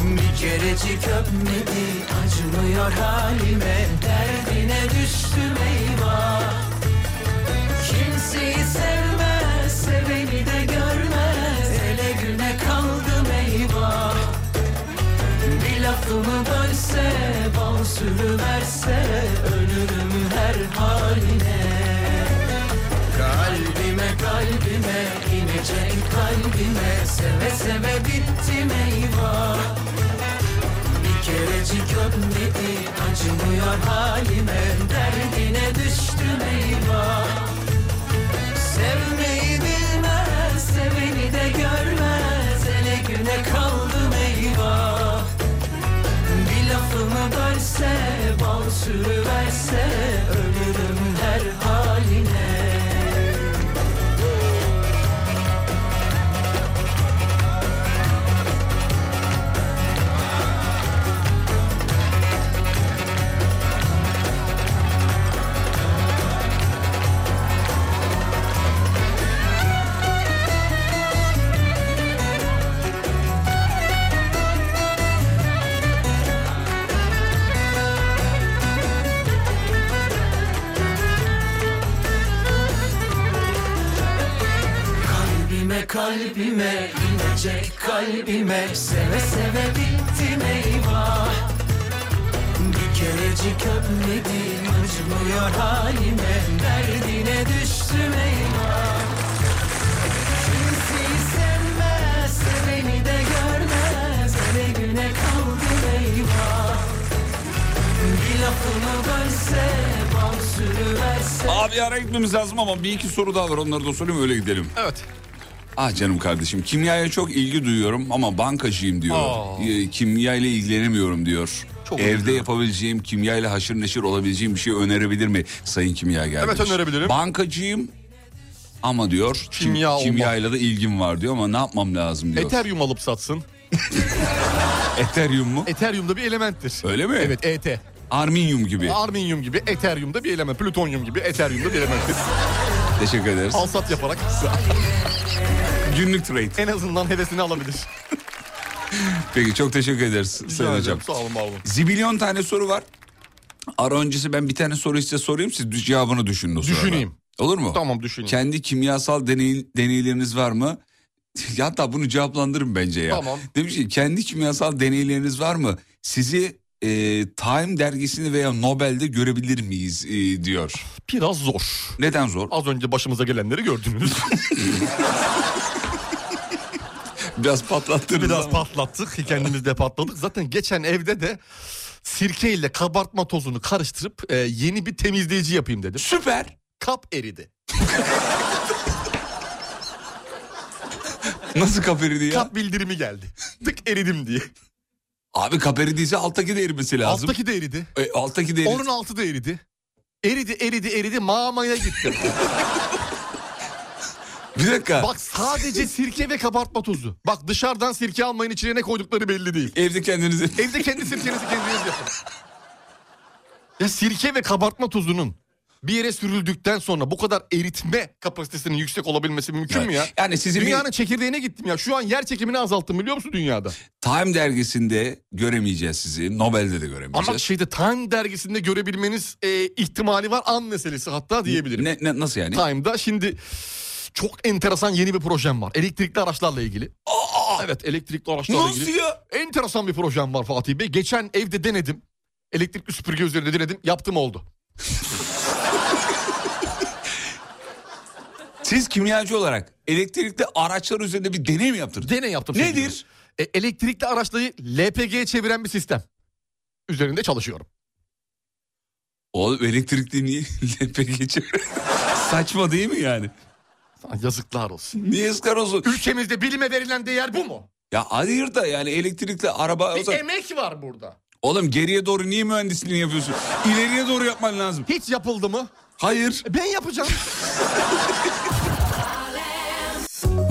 bir kerecik öpmedi acımıyor halime Derdine düştüm eyvah Kimseyi sevmez seveni de görmez Ele güne kaldım eyvah Bir lafımı bölse bal sürüverse Ölürüm her haline Kalbime kalbime inecek kalbime Seve seve bittim eyvah bir kerecik öpmedi acımıyor halime Derdine düştüm eyvah Sevmeyi bilmez seveni de görmez Ele güne kaldım eyvah Bir lafımı bölse bal sürüverse Ölürüm her haline Kalbime kalbime inecek kalbime Seve seve bittim eyvah Bir kerecik öpmedi acımıyor halime Derdine düştüm eyvah Kimseyi sevmez seveni de görmez Hele güne kaldım eyvah Bir lafımı bölse bal sürüverse
Abi ara gitmemiz lazım ama bir iki soru daha var onları da sorayım öyle gidelim.
Evet.
Ah canım kardeşim kimyaya çok ilgi duyuyorum ama bankacıyım diyor.
Aa.
Kimya kimyayla ilgilenemiyorum diyor.
Çok
Evde
üzücü.
yapabileceğim kimyayla haşır neşir olabileceğim bir şey önerebilir mi sayın kimya geldi?
Evet, önerebilirim.
Bankacıyım ama diyor kim-
Kimya olmaz.
kimyayla da ilgim var diyor ama ne yapmam lazım diyor.
Ethereum alıp satsın.
Ethereum mu?
Ethereum da bir elementtir.
Öyle mi?
Evet ET.
Arminyum gibi.
Arminyum gibi, Ethereum da bir element. Plütonyum gibi, Ethereum da bir elementtir.
Teşekkür ederiz.
Al sat yaparak
Günlük trade.
en azından hevesini alabilir.
Peki çok teşekkür ederiz sayın
Rica ederim.
hocam.
Sağ olun, var olun.
Zibilyon tane soru var. Ara öncesi ben bir tane soru size sorayım siz düş- cevabını düşünün o sırada.
Düşüneyim.
Olur mu?
Tamam düşünün.
Kendi kimyasal deney, deneyleriniz var mı? Ya Hatta bunu cevaplandırın bence ya.
Tamam.
Demiş ki kendi kimyasal deneyleriniz var mı? Sizi e, Time dergisini veya Nobel'de görebilir miyiz e, diyor.
Biraz zor.
Neden zor?
Az önce başımıza gelenleri gördünüz.
Biraz patlattınız
Biraz
ama.
patlattık. Kendimiz de patladık. Zaten geçen evde de sirke ile kabartma tozunu karıştırıp e, yeni bir temizleyici yapayım dedim.
Süper.
Kap eridi.
Nasıl kaperidi ya?
Kap bildirimi geldi. Tık eridim diye.
Abi kaperidiyse alttaki de erimesi lazım.
Alttaki de eridi.
E, alttaki de erir-
Onun altı da eridi. Eridi eridi eridi mamaya gittim.
Bir dakika.
Bak sadece sirke ve kabartma tozu. Bak dışarıdan sirke almayın içine ne koydukları belli değil.
Evde kendinizi...
Evde kendi sirkenizi kendiniz yapın. Ya sirke ve kabartma tozunun bir yere sürüldükten sonra bu kadar eritme kapasitesinin yüksek olabilmesi mümkün mü ya?
Evet. Yani sizin bir-
Dünyanın çekirdeğine gittim ya. Şu an yer çekimini azalttım biliyor musun dünyada?
Time dergisinde göremeyeceğiz sizi. Nobel'de de
Ama
göremeyeceğiz.
şeyde Time dergisinde görebilmeniz e, ihtimali var an meselesi hatta diyebilirim.
ne, ne, nasıl yani?
Time'da şimdi çok enteresan yeni bir projem var. Elektrikli araçlarla ilgili. Evet elektrikli araçlarla ilgili.
Nasıl ya?
Enteresan bir projem var Fatih Bey. Geçen evde denedim. Elektrikli süpürge üzerinde denedim. Yaptım oldu.
Siz kimyacı olarak elektrikli araçlar üzerinde bir deney mi yaptınız?
Deney yaptım.
Nedir?
sevgili dostum. E, elektrikli araçları LPG'ye çeviren bir sistem. Üzerinde çalışıyorum.
o elektrikli niye LPG geçiyor? Saçma değil mi yani?
Sana yazıklar olsun.
Niye ıskar olsun?
Ülkemizde bilime verilen değer bu mu?
Ya hayır da yani elektrikli araba...
Bir emek var burada.
Oğlum geriye doğru niye mühendisliğini yapıyorsun? İleriye doğru yapman lazım.
Hiç yapıldı mı?
Hayır.
E, ben yapacağım.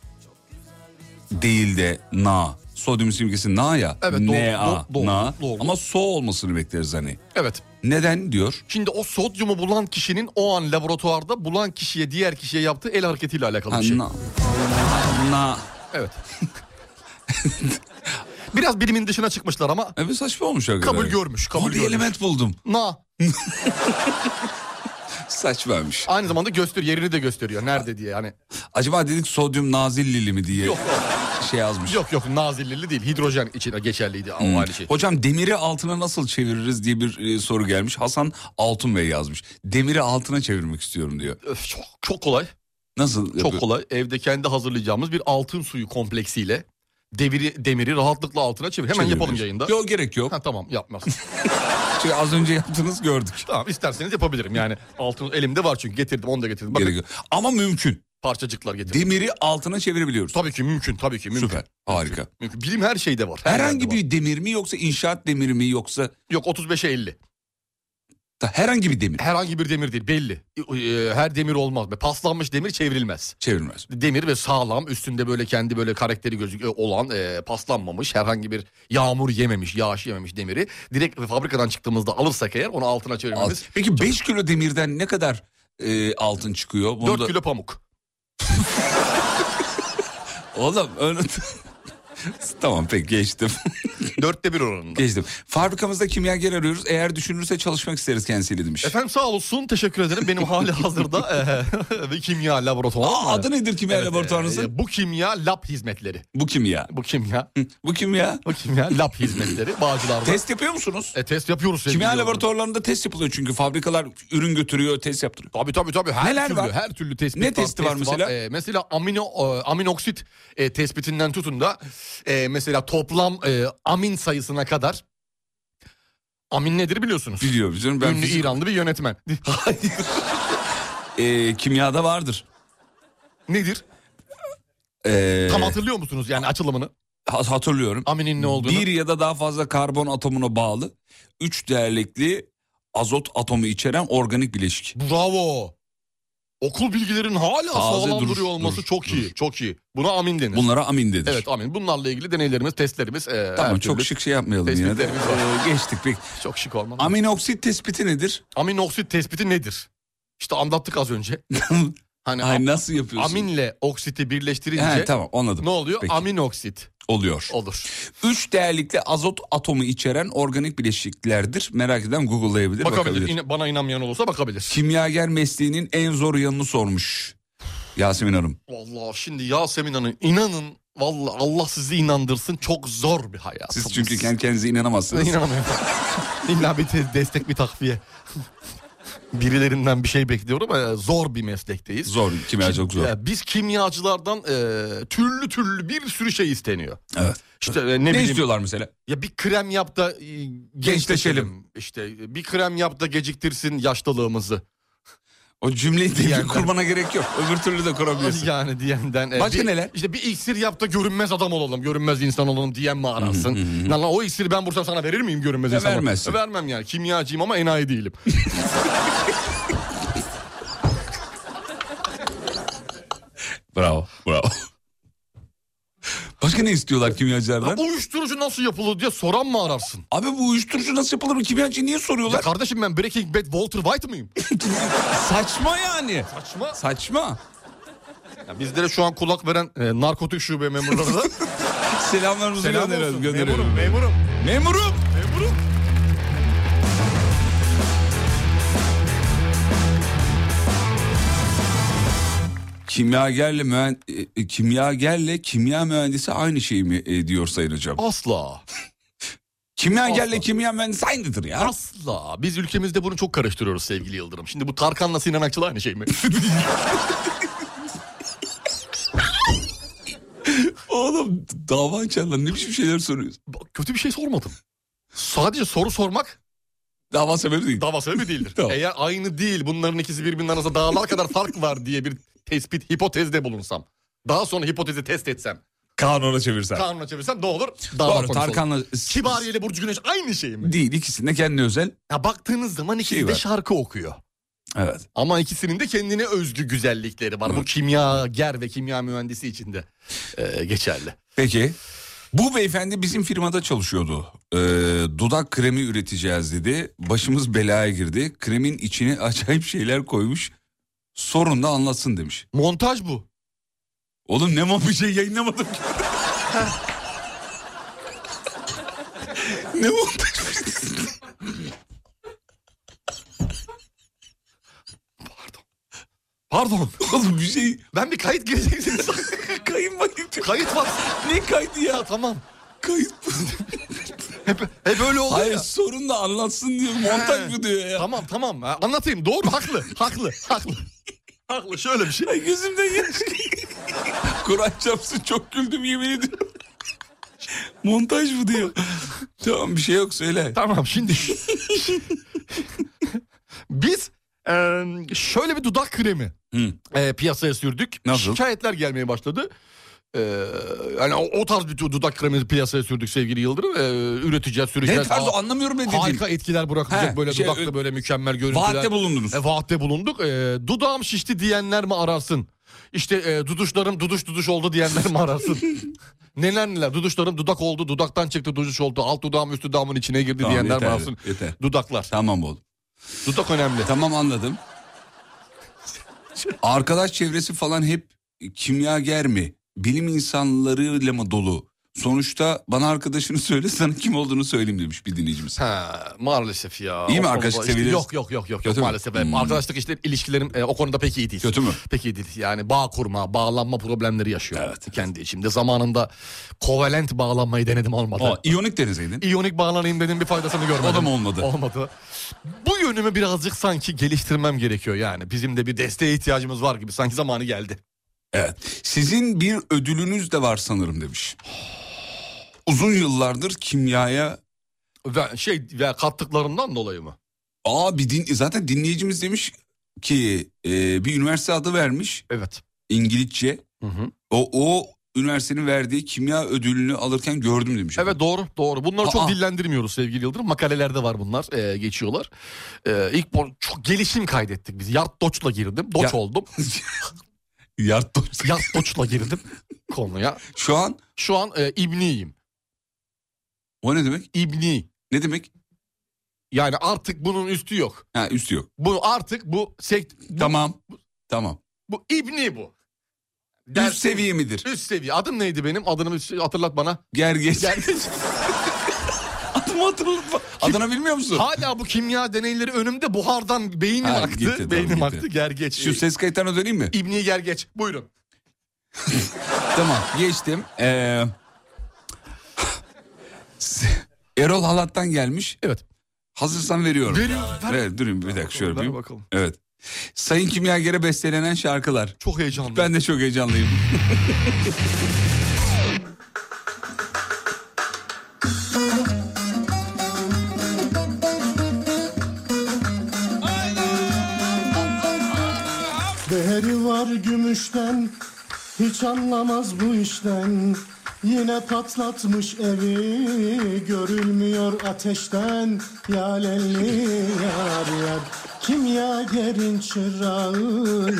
değil de na. Sodyumun simgesi na ya.
Evet, doğru,
Na,
doğru,
na.
doğru.
Ama so olmasını bekleriz hani.
Evet.
Neden diyor.
Şimdi o sodyumu bulan kişinin o an laboratuvarda bulan kişiye diğer kişiye yaptığı el hareketiyle alakalı
Ha,
bir şey.
na. na.
Evet. Biraz bilimin dışına çıkmışlar ama
Evet E, saçma olmuş hakikaten.
kabul görmüş. Kabul
Ama bir
görmüş.
element buldum.
Na.
Saçmamış.
Aynı zamanda göster yerini de gösteriyor. Nerede diye hani. yani.
Acaba dedik sodyum nazillili mi diye
Yok.
şey yazmış.
Yok yok nazillili değil. Hidrojen için geçerliydi ama aynı şey.
Hmm. Hocam demiri altına nasıl çeviririz diye bir e, soru gelmiş. Hasan Altun Bey yazmış. Demiri altına çevirmek istiyorum diyor.
Öf, çok, çok kolay.
Nasıl?
Çok kolay. Evde kendi hazırlayacağımız bir altın suyu kompleksiyle deviri, demiri rahatlıkla altına çevir. Hemen yapalım yayında.
Yok gerek yok.
Ha, tamam yapmaz.
Çünkü az önce yaptınız gördük.
tamam isterseniz yapabilirim yani. Altın elimde var çünkü getirdim onu da getirdim. Bakın
Gerek yok. Ama mümkün.
parçacıklar getirdim.
Demiri altına çevirebiliyoruz.
Tabii ki mümkün tabii ki mümkün.
Süper. Harika.
Mümkün. Bilim her şeyde var. Her
Herhangi
yerde var.
bir demir mi yoksa inşaat demiri mi yoksa
Yok 35'e 50.
da herhangi bir demir
Herhangi bir demir değil belli. Ee, Her demir olmaz. Böyle Paslanmış demir çevrilmez.
çevirmez.
Demir ve sağlam üstünde böyle kendi böyle karakteri gözük olan e, paslanmamış herhangi bir yağmur yememiş yağış yememiş demiri direkt fabrikadan çıktığımızda alırsak eğer onu altına çevirmemiz
Peki 5 kilo demirden ne kadar e, altın çıkıyor. Bunu
4
da-
kilo pamuk.
Oğlum ön- tamam pek geçtim.
Dörtte bir oranında.
geçtim. Fabrikamızda kimyager arıyoruz. Eğer düşünürse çalışmak isteriz kendisiyle demiş.
Efendim sağ olsun teşekkür ederim. Benim hali hazırda eee, bir kimya laboratuvarı.
Aa,
var.
adı nedir kimya
Evet,
laboratuvarınızın?
eee, bu kimya lab hizmetleri.
Bu kimya.
Bu kimya.
Bu kimya.
Bu kimya lab hizmetleri. Bağcılar'da.
Test yapıyor musunuz?
E, test yapıyoruz. sevgili
Kimya
yavrum.
laboratuvarlarında test yapılıyor çünkü fabrikalar ürün götürüyor, test yaptırıyor.
Tabii tabii tabii. Her
Neler
türlü,
var?
Her türlü tespit
Ne testi var mesela?
E, mesela amino, e, aminoksit e, tespitinden tutun da e, mesela toplam e, amin sayısına kadar. Amin nedir biliyorsunuz.
Biliyor bizim ben
Ünlü
fizik-
İranlı bir yönetmen. Hayır.
Ee, kimyada vardır.
nedir?
Ee,
Tam hatırlıyor musunuz yani açılımını?
ha- hatırlıyorum.
Aminin ne olduğunu.
Bir ya da daha fazla karbon atomuna bağlı üç değerlikli azot atomu içeren organik bileşik.
Bravo. Okul bilgilerin hala
Taze
sağlam
duruş,
duruyor olması
duruş,
çok iyi.
duruş.
Çok iyi. Buna amin denir.
Bunlara amin denir.
Evet amin. Bunlarla ilgili deneylerimiz, testlerimiz. E,
Tamam
her
çok
türlü-
şık şey yapmayalım yine de.
tespitlerimiz
Ee, geçtik pek.
Çok şık olmalı.
Aminoksit tespiti nedir?
Aminoksit tespiti nedir? İşte anlattık az önce. Hani
Ay,
a-
nasıl yapıyorsun?
aminle oksiti birleştirince
He, tamam anladım.
ne oluyor?
Peki.
Aminoksit
Oluyor.
olur.
Üç değerlikli azot atomu içeren organik bileşiklerdir. Merak eden Google'layabilir,
Bakabilir.
bakabilir.
İna- bana inanmayan olursa bakabilir.
Kimyager mesleğinin en zor yanını sormuş Yasemin Hanım.
Vallahi şimdi Yasemin Hanım inanın vallahi Allah sizi inandırsın çok zor bir hayat.
Siz çünkü kendi kendinize inanamazsınız.
İnanamıyorum. İlla bir te- destek bir takviye. Birilerinden bir şey bekliyorum ama zor bir meslekteyiz.
Zor, kimyacılık
Kim-
zor.
Ya Biz kimyacılardan e, türlü türlü bir sürü şey isteniyor.
Evet.
İşte e, ne
Ne,
bileyim
istiyorlar mesela?
Ya bir krem yap da e, gençleşelim. İşte e, bir krem yap da geciktirsin yaşlılığımızı.
O cümleyi de
Diyenler.
E, kurmana gerek yok. Öbür türlü de kurabilirsin.
Yani diyenden. e,
Başka
bir-
neler?
İşte bir iksir yap da görünmez adam olalım, görünmez insan olalım diyen mi aransın? Lan lan o iksiri ben Bursa sana verir miyim görünmez
E,
insan? olarak?
vermezsin.
E, Vermem yani. Kimyacıyım ama enayi değilim.
Bravo, bravo. Başka ne istiyorlar kimyacılardan?
Uyuşturucu nasıl yapılır diye soran mı ararsın?
Abi bu uyuşturucu nasıl yapılır? Bu Kimyacı niye
Ya
soruyorlar?
kardeşim ben Breaking Bad Walter White mıyım?
Saçma yani.
Saçma.
Saçma.
Ya bizlere şu an kulak veren e, narkotik şube memurları da
Selamlarımızı
selam
gönderiyoruz.
olsun.
gönderiyoruz.
Memurum, memurum.
Memurum.
Memurum.
Kimyagerle mühen- e, e, kimyagerle kimya mühendisi aynı şey mi e, diyor Sayın Hocam?
Asla.
Kimyagerle
asla.
kimya mühendisi aynıdır ya.
Asla. Biz ülkemizde bunu çok karıştırıyoruz sevgili Yıldırım. Şimdi bu Tarkan'la Sinan Akçıl aynı şey mi?
Oğlum dava açarlar ne biçim şeyler soruyorsun?
Bak, Kötü bir şey sormadım. Sadece soru sormak
Dava sebebi değil.
dava sebebi değildir.
Tamam.
Eğer aynı değil bunların ikisi birbirinin arasında dağlar kadar fark var diye bir tespit hipotezde bulunsam. Daha sonra hipotezi test etsem.
Kanuna çevirsen.
Kanuna çevirsem ne olur? Dava
Doğru
konusu olur.
Tarkan'la
Kibariye ile Burcu Güneş aynı şey mi?
değil ikisinde kendi özel.
Ya baktığınız zaman ikisi
Şey
de
var.
şarkı okuyor.
Evet.
Ama ikisinin de kendine özgü güzellikleri var. Bu kimya ger ve kimya mühendisi için de e, geçerli.
Peki. Bu beyefendi bizim firmada çalışıyordu. Ee, dudak kremi üreteceğiz dedi. Başımız belaya girdi. Kremin içine acayip şeyler koymuş. Sorun da anlatsın demiş.
Montaj bu.
Oğlum ne mafya şey yayınlamadım ki. ne montaj?
Pardon.
Oğlum bir şey
Ben bir kayıt girecektim.
kayın bakayım.
kayıt var.
Ne kaydı ya?
Ya tamam.
Kayıt
Hep, hep öyle oluyor
Hayır
ya.
sorun da anlatsın diyor. Montaj mı diyor ya?
Tamam tamam. Ha, Anlatayım. Doğru. Haklı. Haklı. Haklı. Haklı. Şöyle bir şey.
Ay gözümden yaş. Kur'an çarpsın çok güldüm yemin ediyorum. Montaj mı diyor. tamam bir şey yok söyle.
Tamam şimdi. Biz e, şöyle bir dudak kremi
Hı.
e, piyasaya sürdük.
Nasıl?
Şikayetler gelmeye başladı. E, yani o, o tarz bir dudak kremi piyasaya sürdük sevgili Yıldırım. E, üreteceğiz,
Ne
süreceğiz.
tarzı
Aa,
anlamıyorum ne dediğin.
Harika etkiler bırakacak
He,
böyle
şey,
dudakta böyle mükemmel görüntüler.
Vaatte bulundunuz.
E, vaatte bulunduk. E, dudağım şişti diyenler mi ararsın? İşte e, duduşlarım duduş duduş oldu diyenler mi ararsın? neler neler duduşlarım dudak oldu dudaktan çıktı duduş oldu alt dudağım üst dudağımın içine girdi
Tamam,
diyenler mi
yeterli,
ararsın?
yeter.
Dudaklar.
Tamam oğlum.
Dudak önemli.
Tamam anladım. Arkadaş çevresi falan hep kimyager mi? Bilim insanlarıyla mı dolu? Sonuçta bana arkadaşını söyle sana kim olduğunu söyleyeyim demiş bir dinleyicimiz.
Ha, maalesef ya.
İyi mi
O
arkadaşlık
konuda işte-
seviyeniz?
Yok yok yok yok, yok
Kötü mü?
maalesef. evet.
Hmm.
Arkadaşlık işte ilişkilerim e, o konuda pek iyi değil.
Kötü mü?
Pek iyi değil. Yani bağ kurma, bağlanma problemleri yaşıyor. Kendi içimde zamanında kovalent bağlanmayı denedim olmadı.
Aa, iyonik denizeydin.
İyonik bağlanayım dedim bir faydasını görmedim.
O da mı olmadı?
Olmadı. Bu yönümü birazcık sanki geliştirmem gerekiyor yani. Bizim de bir desteğe ihtiyacımız var gibi sanki zamanı geldi.
Evet. Sizin bir ödülünüz de var sanırım demiş. Uzun yıllardır kimyaya
Ve şey ve kattıklarından dolayı mı?
Aa bir din zaten dinleyicimiz demiş ki e, bir üniversite adı vermiş.
Evet.
İngilizce.
Hı hı.
O o üniversitenin verdiği kimya ödülünü alırken gördüm demiş.
Evet doğru doğru. Bunları
Aa.
çok dillendirmiyoruz sevgili Yıldırım. Makalelerde var bunlar. ee, geçiyorlar. Ee, ilk bu- çok gelişim kaydettik biz. Yard Doç'la girdim. Doç
Ya-
oldum.
Yart
Yard Doç'la girdim konuya.
Şu an
Şu an e, İbni'yim.
o ne demek?
İbni.
Ne demek?
Yani artık bunun üstü yok.
Ha üstü yok.
Bu artık bu sekt bu,
Tamam. Tamam.
bu İbni bu.
Üst seviye midir?
Üst seviye. Adım neydi benim? Adını bir şey hatırlat bana.
Gergeç.
Gel.
Adımı hatırlatma. Adını bilmiyor musun?
Hala bu kimya deneyleri önümde buhardan beynim
Ha,
aktı.
gitti, tamam,
beynim
gitti.
aktı. Gergeç.
Şu ses kayıtlarına döneyim mi?
İbni Gergeç. Buyurun.
Tamam geçtim. Ee, Erol Halat'tan gelmiş.
Evet.
Hazırsan veriyorum.
Veriyorum, ver.
Evet durayım bir dakika şöyle
Ver
bir.
bakalım.
Evet. Sayın Kimyager'e bestelenen şarkılar.
Çok heyecanlı.
Ben de çok heyecanlıyım.
Değeri var gümüşten Hiç anlamaz bu işten Yine patlatmış evi Görülmüyor ateşten Yalelli yar yar Kimya gerin çırağı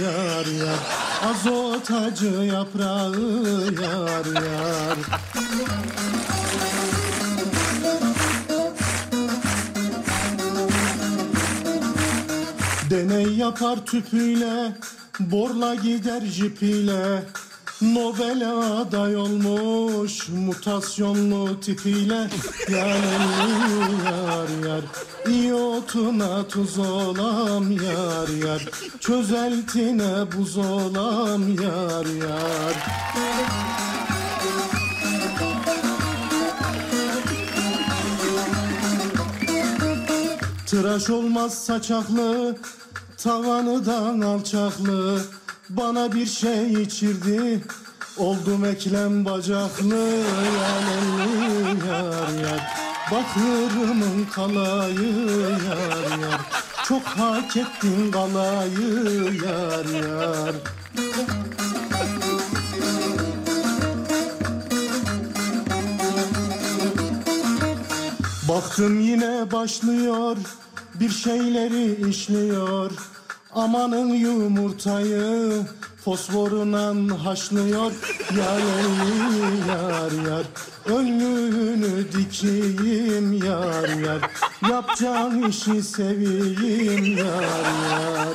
yar yar Azot acı yaprağı yar yar Deney yapar tüpüyle, borla gider jipiyle. Nobel'e aday olmuş mutasyonlu tipiyle Yaleli yar yar İyotuna tuz olam yar yar Çözeltine buz olam yar yar Tıraş olmaz saçaklı, tavanıdan alçaklı. Bana bir şey içirdi, oldum eklem bacaklı. Yalelli yar yar, bakırımın kalayı yar yar. Çok hak ettin kalayı yar yar. Baktım yine başlıyor bir şeyleri işliyor Amanın yumurtayı fosforundan haşlıyor Yar elli yar yar önlüğünü dikeyim yar yar Yapacağım işi seveyim yar yar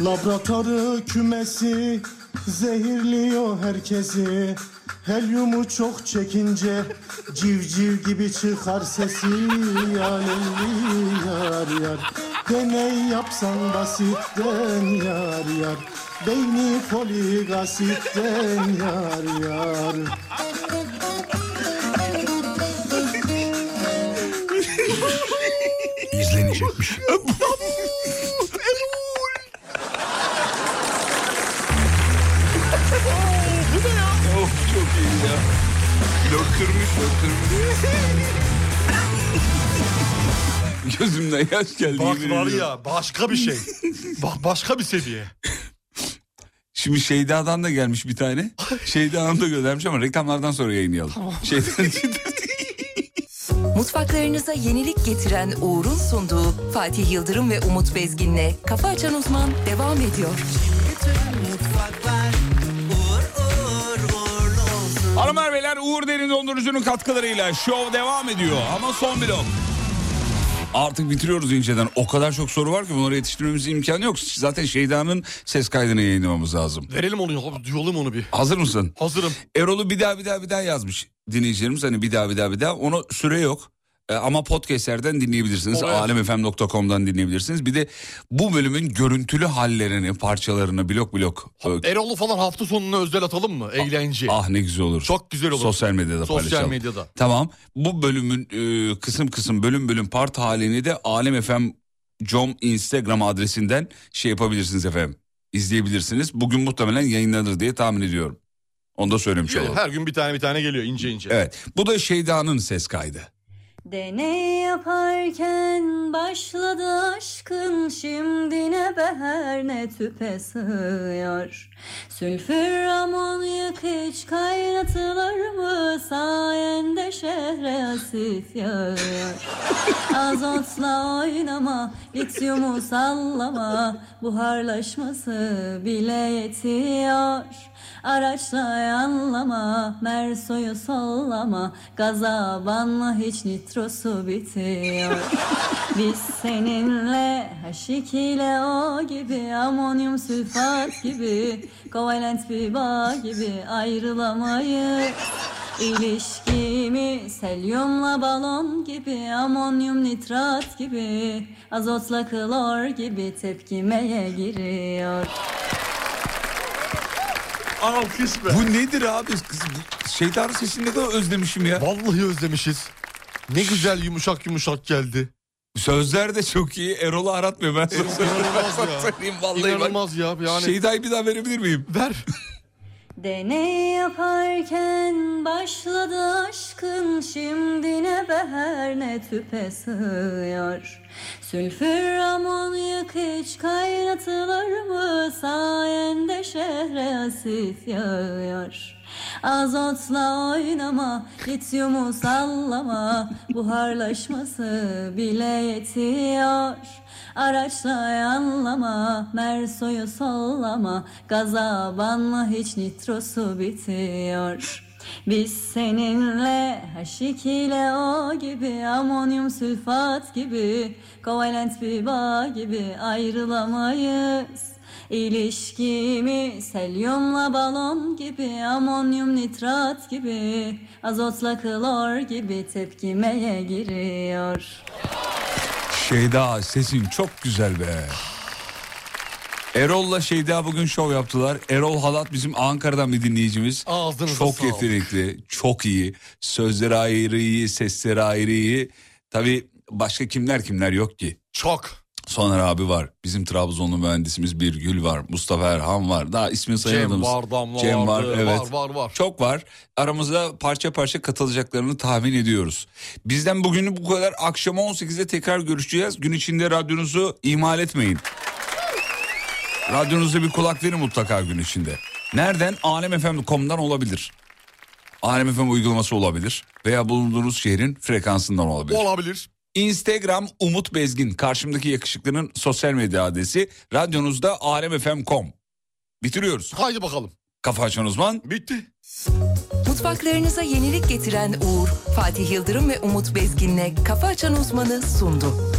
Laboratuvarı kümesi zehirliyor herkesi. Helyumu çok çekince civciv gibi çıkar sesi yar elli yar yar. Deney yapsan basitten yar yar. Beyni poligasitten yar yar.
İzlenecekmiş.
of çok iyi ya. Döktürmüş döktürmüş. Gözümden yaş geldi.
Bak
yemin
var
ediyorum.
ya başka bir şey. Ba- başka bir seviye.
Şimdi Şeyda'dan da gelmiş bir tane. Şeyda Hanım da göndermiş ama reklamlardan sonra yayınlayalım. Şeyda-
Mutfaklarınıza yenilik getiren Uğur'un sunduğu Fatih Yıldırım ve Umut Bezgin'le Kafa Açan Uzman devam ediyor.
Bütün mutfaklar uğur uğur uğurlu olsun
Hanımlar beyler Uğur Derin Dondurucu'nun katkılarıyla şov devam ediyor ama son blok. Artık bitiriyoruz inceden. O kadar çok soru var ki bunları yetiştirmemiz imkanı yok. Zaten Şeyda'nın ses kaydını yayınlamamız lazım.
Verelim onu ya. Duyalım onu bir.
Hazır mısın?
Hazırım.
Erol'u bir daha bir daha bir daha yazmış dinleyicilerimiz. Hani bir daha bir daha bir daha. Ona süre yok. E, Ama podcastlerden dinleyebilirsiniz.
Oraya-
Alemfm.com'dan dinleyebilirsiniz. Bir de bu bölümün görüntülü hallerini, parçalarını blok blok. e,
Erol'u falan hafta sonuna özel atalım mı? Eğlence.
Ah ne güzel olur.
Çok güzel olur.
Sosyal medyada
Sosyal
paylaşalım.
medyada.
Tamam. Bu bölümün e, kısım kısım bölüm bölüm part halini de Alem FM com Instagram adresinden şey yapabilirsiniz efendim. İzleyebilirsiniz. Bugün muhtemelen yayınlanır diye tahmin ediyorum. Onu da söylemiş olalım.
Her gün bir tane bir tane geliyor ince ince.
Evet. Bu da Şeyda'nın ses kaydı.
Deney yaparken başladı aşkın şimdi ne beher ne tüpe sığıyor. Sülfür amonyak hiç kaynatılır mı sayende şehre asit yağıyor. Azotla oynama, lityumu sallama, buharlaşması bile yetiyor. Araçla yanlama, mersoyu sallama, gaza banla hiç nitrosu bitiyor. Biz seninle haşik ile o gibi, amonyum sülfat gibi, kovalent bir bağ gibi ayrılamayız. İlişkimi selyumla balon gibi, amonyum nitrat gibi, azotla klor gibi tepkimeye giriyor.
Alkış be.
Bu nedir abi? Kız, bu Şeyda'nın sesini ne kadar özlemişim ya.
Vallahi özlemişiz. Ne güzel yumuşak yumuşak geldi.
Sözler de çok iyi. Erol'u aratmıyor ben sana
İnanılmaz ya.
söyleyeyim. Vallahi bak.
İnanılmaz ya. Yani
Şeyda'yı bir daha verebilir miyim?
ver.
Deney yaparken başladı aşkın şimdi ne beher ne tüpe sığıyor. Sülfür amonyak hiç kaynatılır mı sayende şehre asit yağıyor. Azotla oynama, lityumu sallama, buharlaşması bile yetiyor. Araçla yanlama, mersoyu sallama, gaza banla hiç nitrosu bitiyor. Biz seninle haşik ile o gibi, amonyum sülfat gibi, kovalent bir bağ gibi ayrılamayız. İlişkimi selyumla balon gibi, amonyum nitrat gibi, azotla klor gibi tepkimeye giriyor.
Şeyda sesin çok güzel be. Erol'la Şeyda bugün şov yaptılar. Erol Halat bizim Ankara'dan bir dinleyicimiz.
Ağzınıza
çok
sağlık.
yetenekli, çok iyi. Sözleri ayrı iyi, sesleri ayrı iyi. Tabii başka kimler kimler yok ki.
Çok.
Soner abi var. Bizim Trabzonlu mühendisimiz Birgül var. Mustafa Erhan var. Daha ismini
Cem
sayamadığımız.
var damla
Cem var,
vardı.
evet.
Var var var.
Çok var. Aramızda parça parça katılacaklarını tahmin ediyoruz. Bizden bugünü bu kadar. Akşama 18'de tekrar görüşeceğiz. Gün içinde radyonuzu ihmal etmeyin. Radyonuza bir kulak verin mutlaka gün içinde. Nereden? E Alemfm.com'dan olabilir. E Alemfm uygulaması olabilir. Veya bulunduğunuz şehrin frekansından olabilir.
Olabilir.
Instagram Umut Bezgin. Karşımdaki yakışıklının sosyal medya adresi. Radyonuzda E alemfm.com. Bitiriyoruz.
Haydi bakalım.
Kafa açan uzman
Bitti.
Mutfaklarınıza yenilik getiren Uğur, Fatih Yıldırım ve Umut Bezgin'le Kafa Açan Uzman'ı sundu.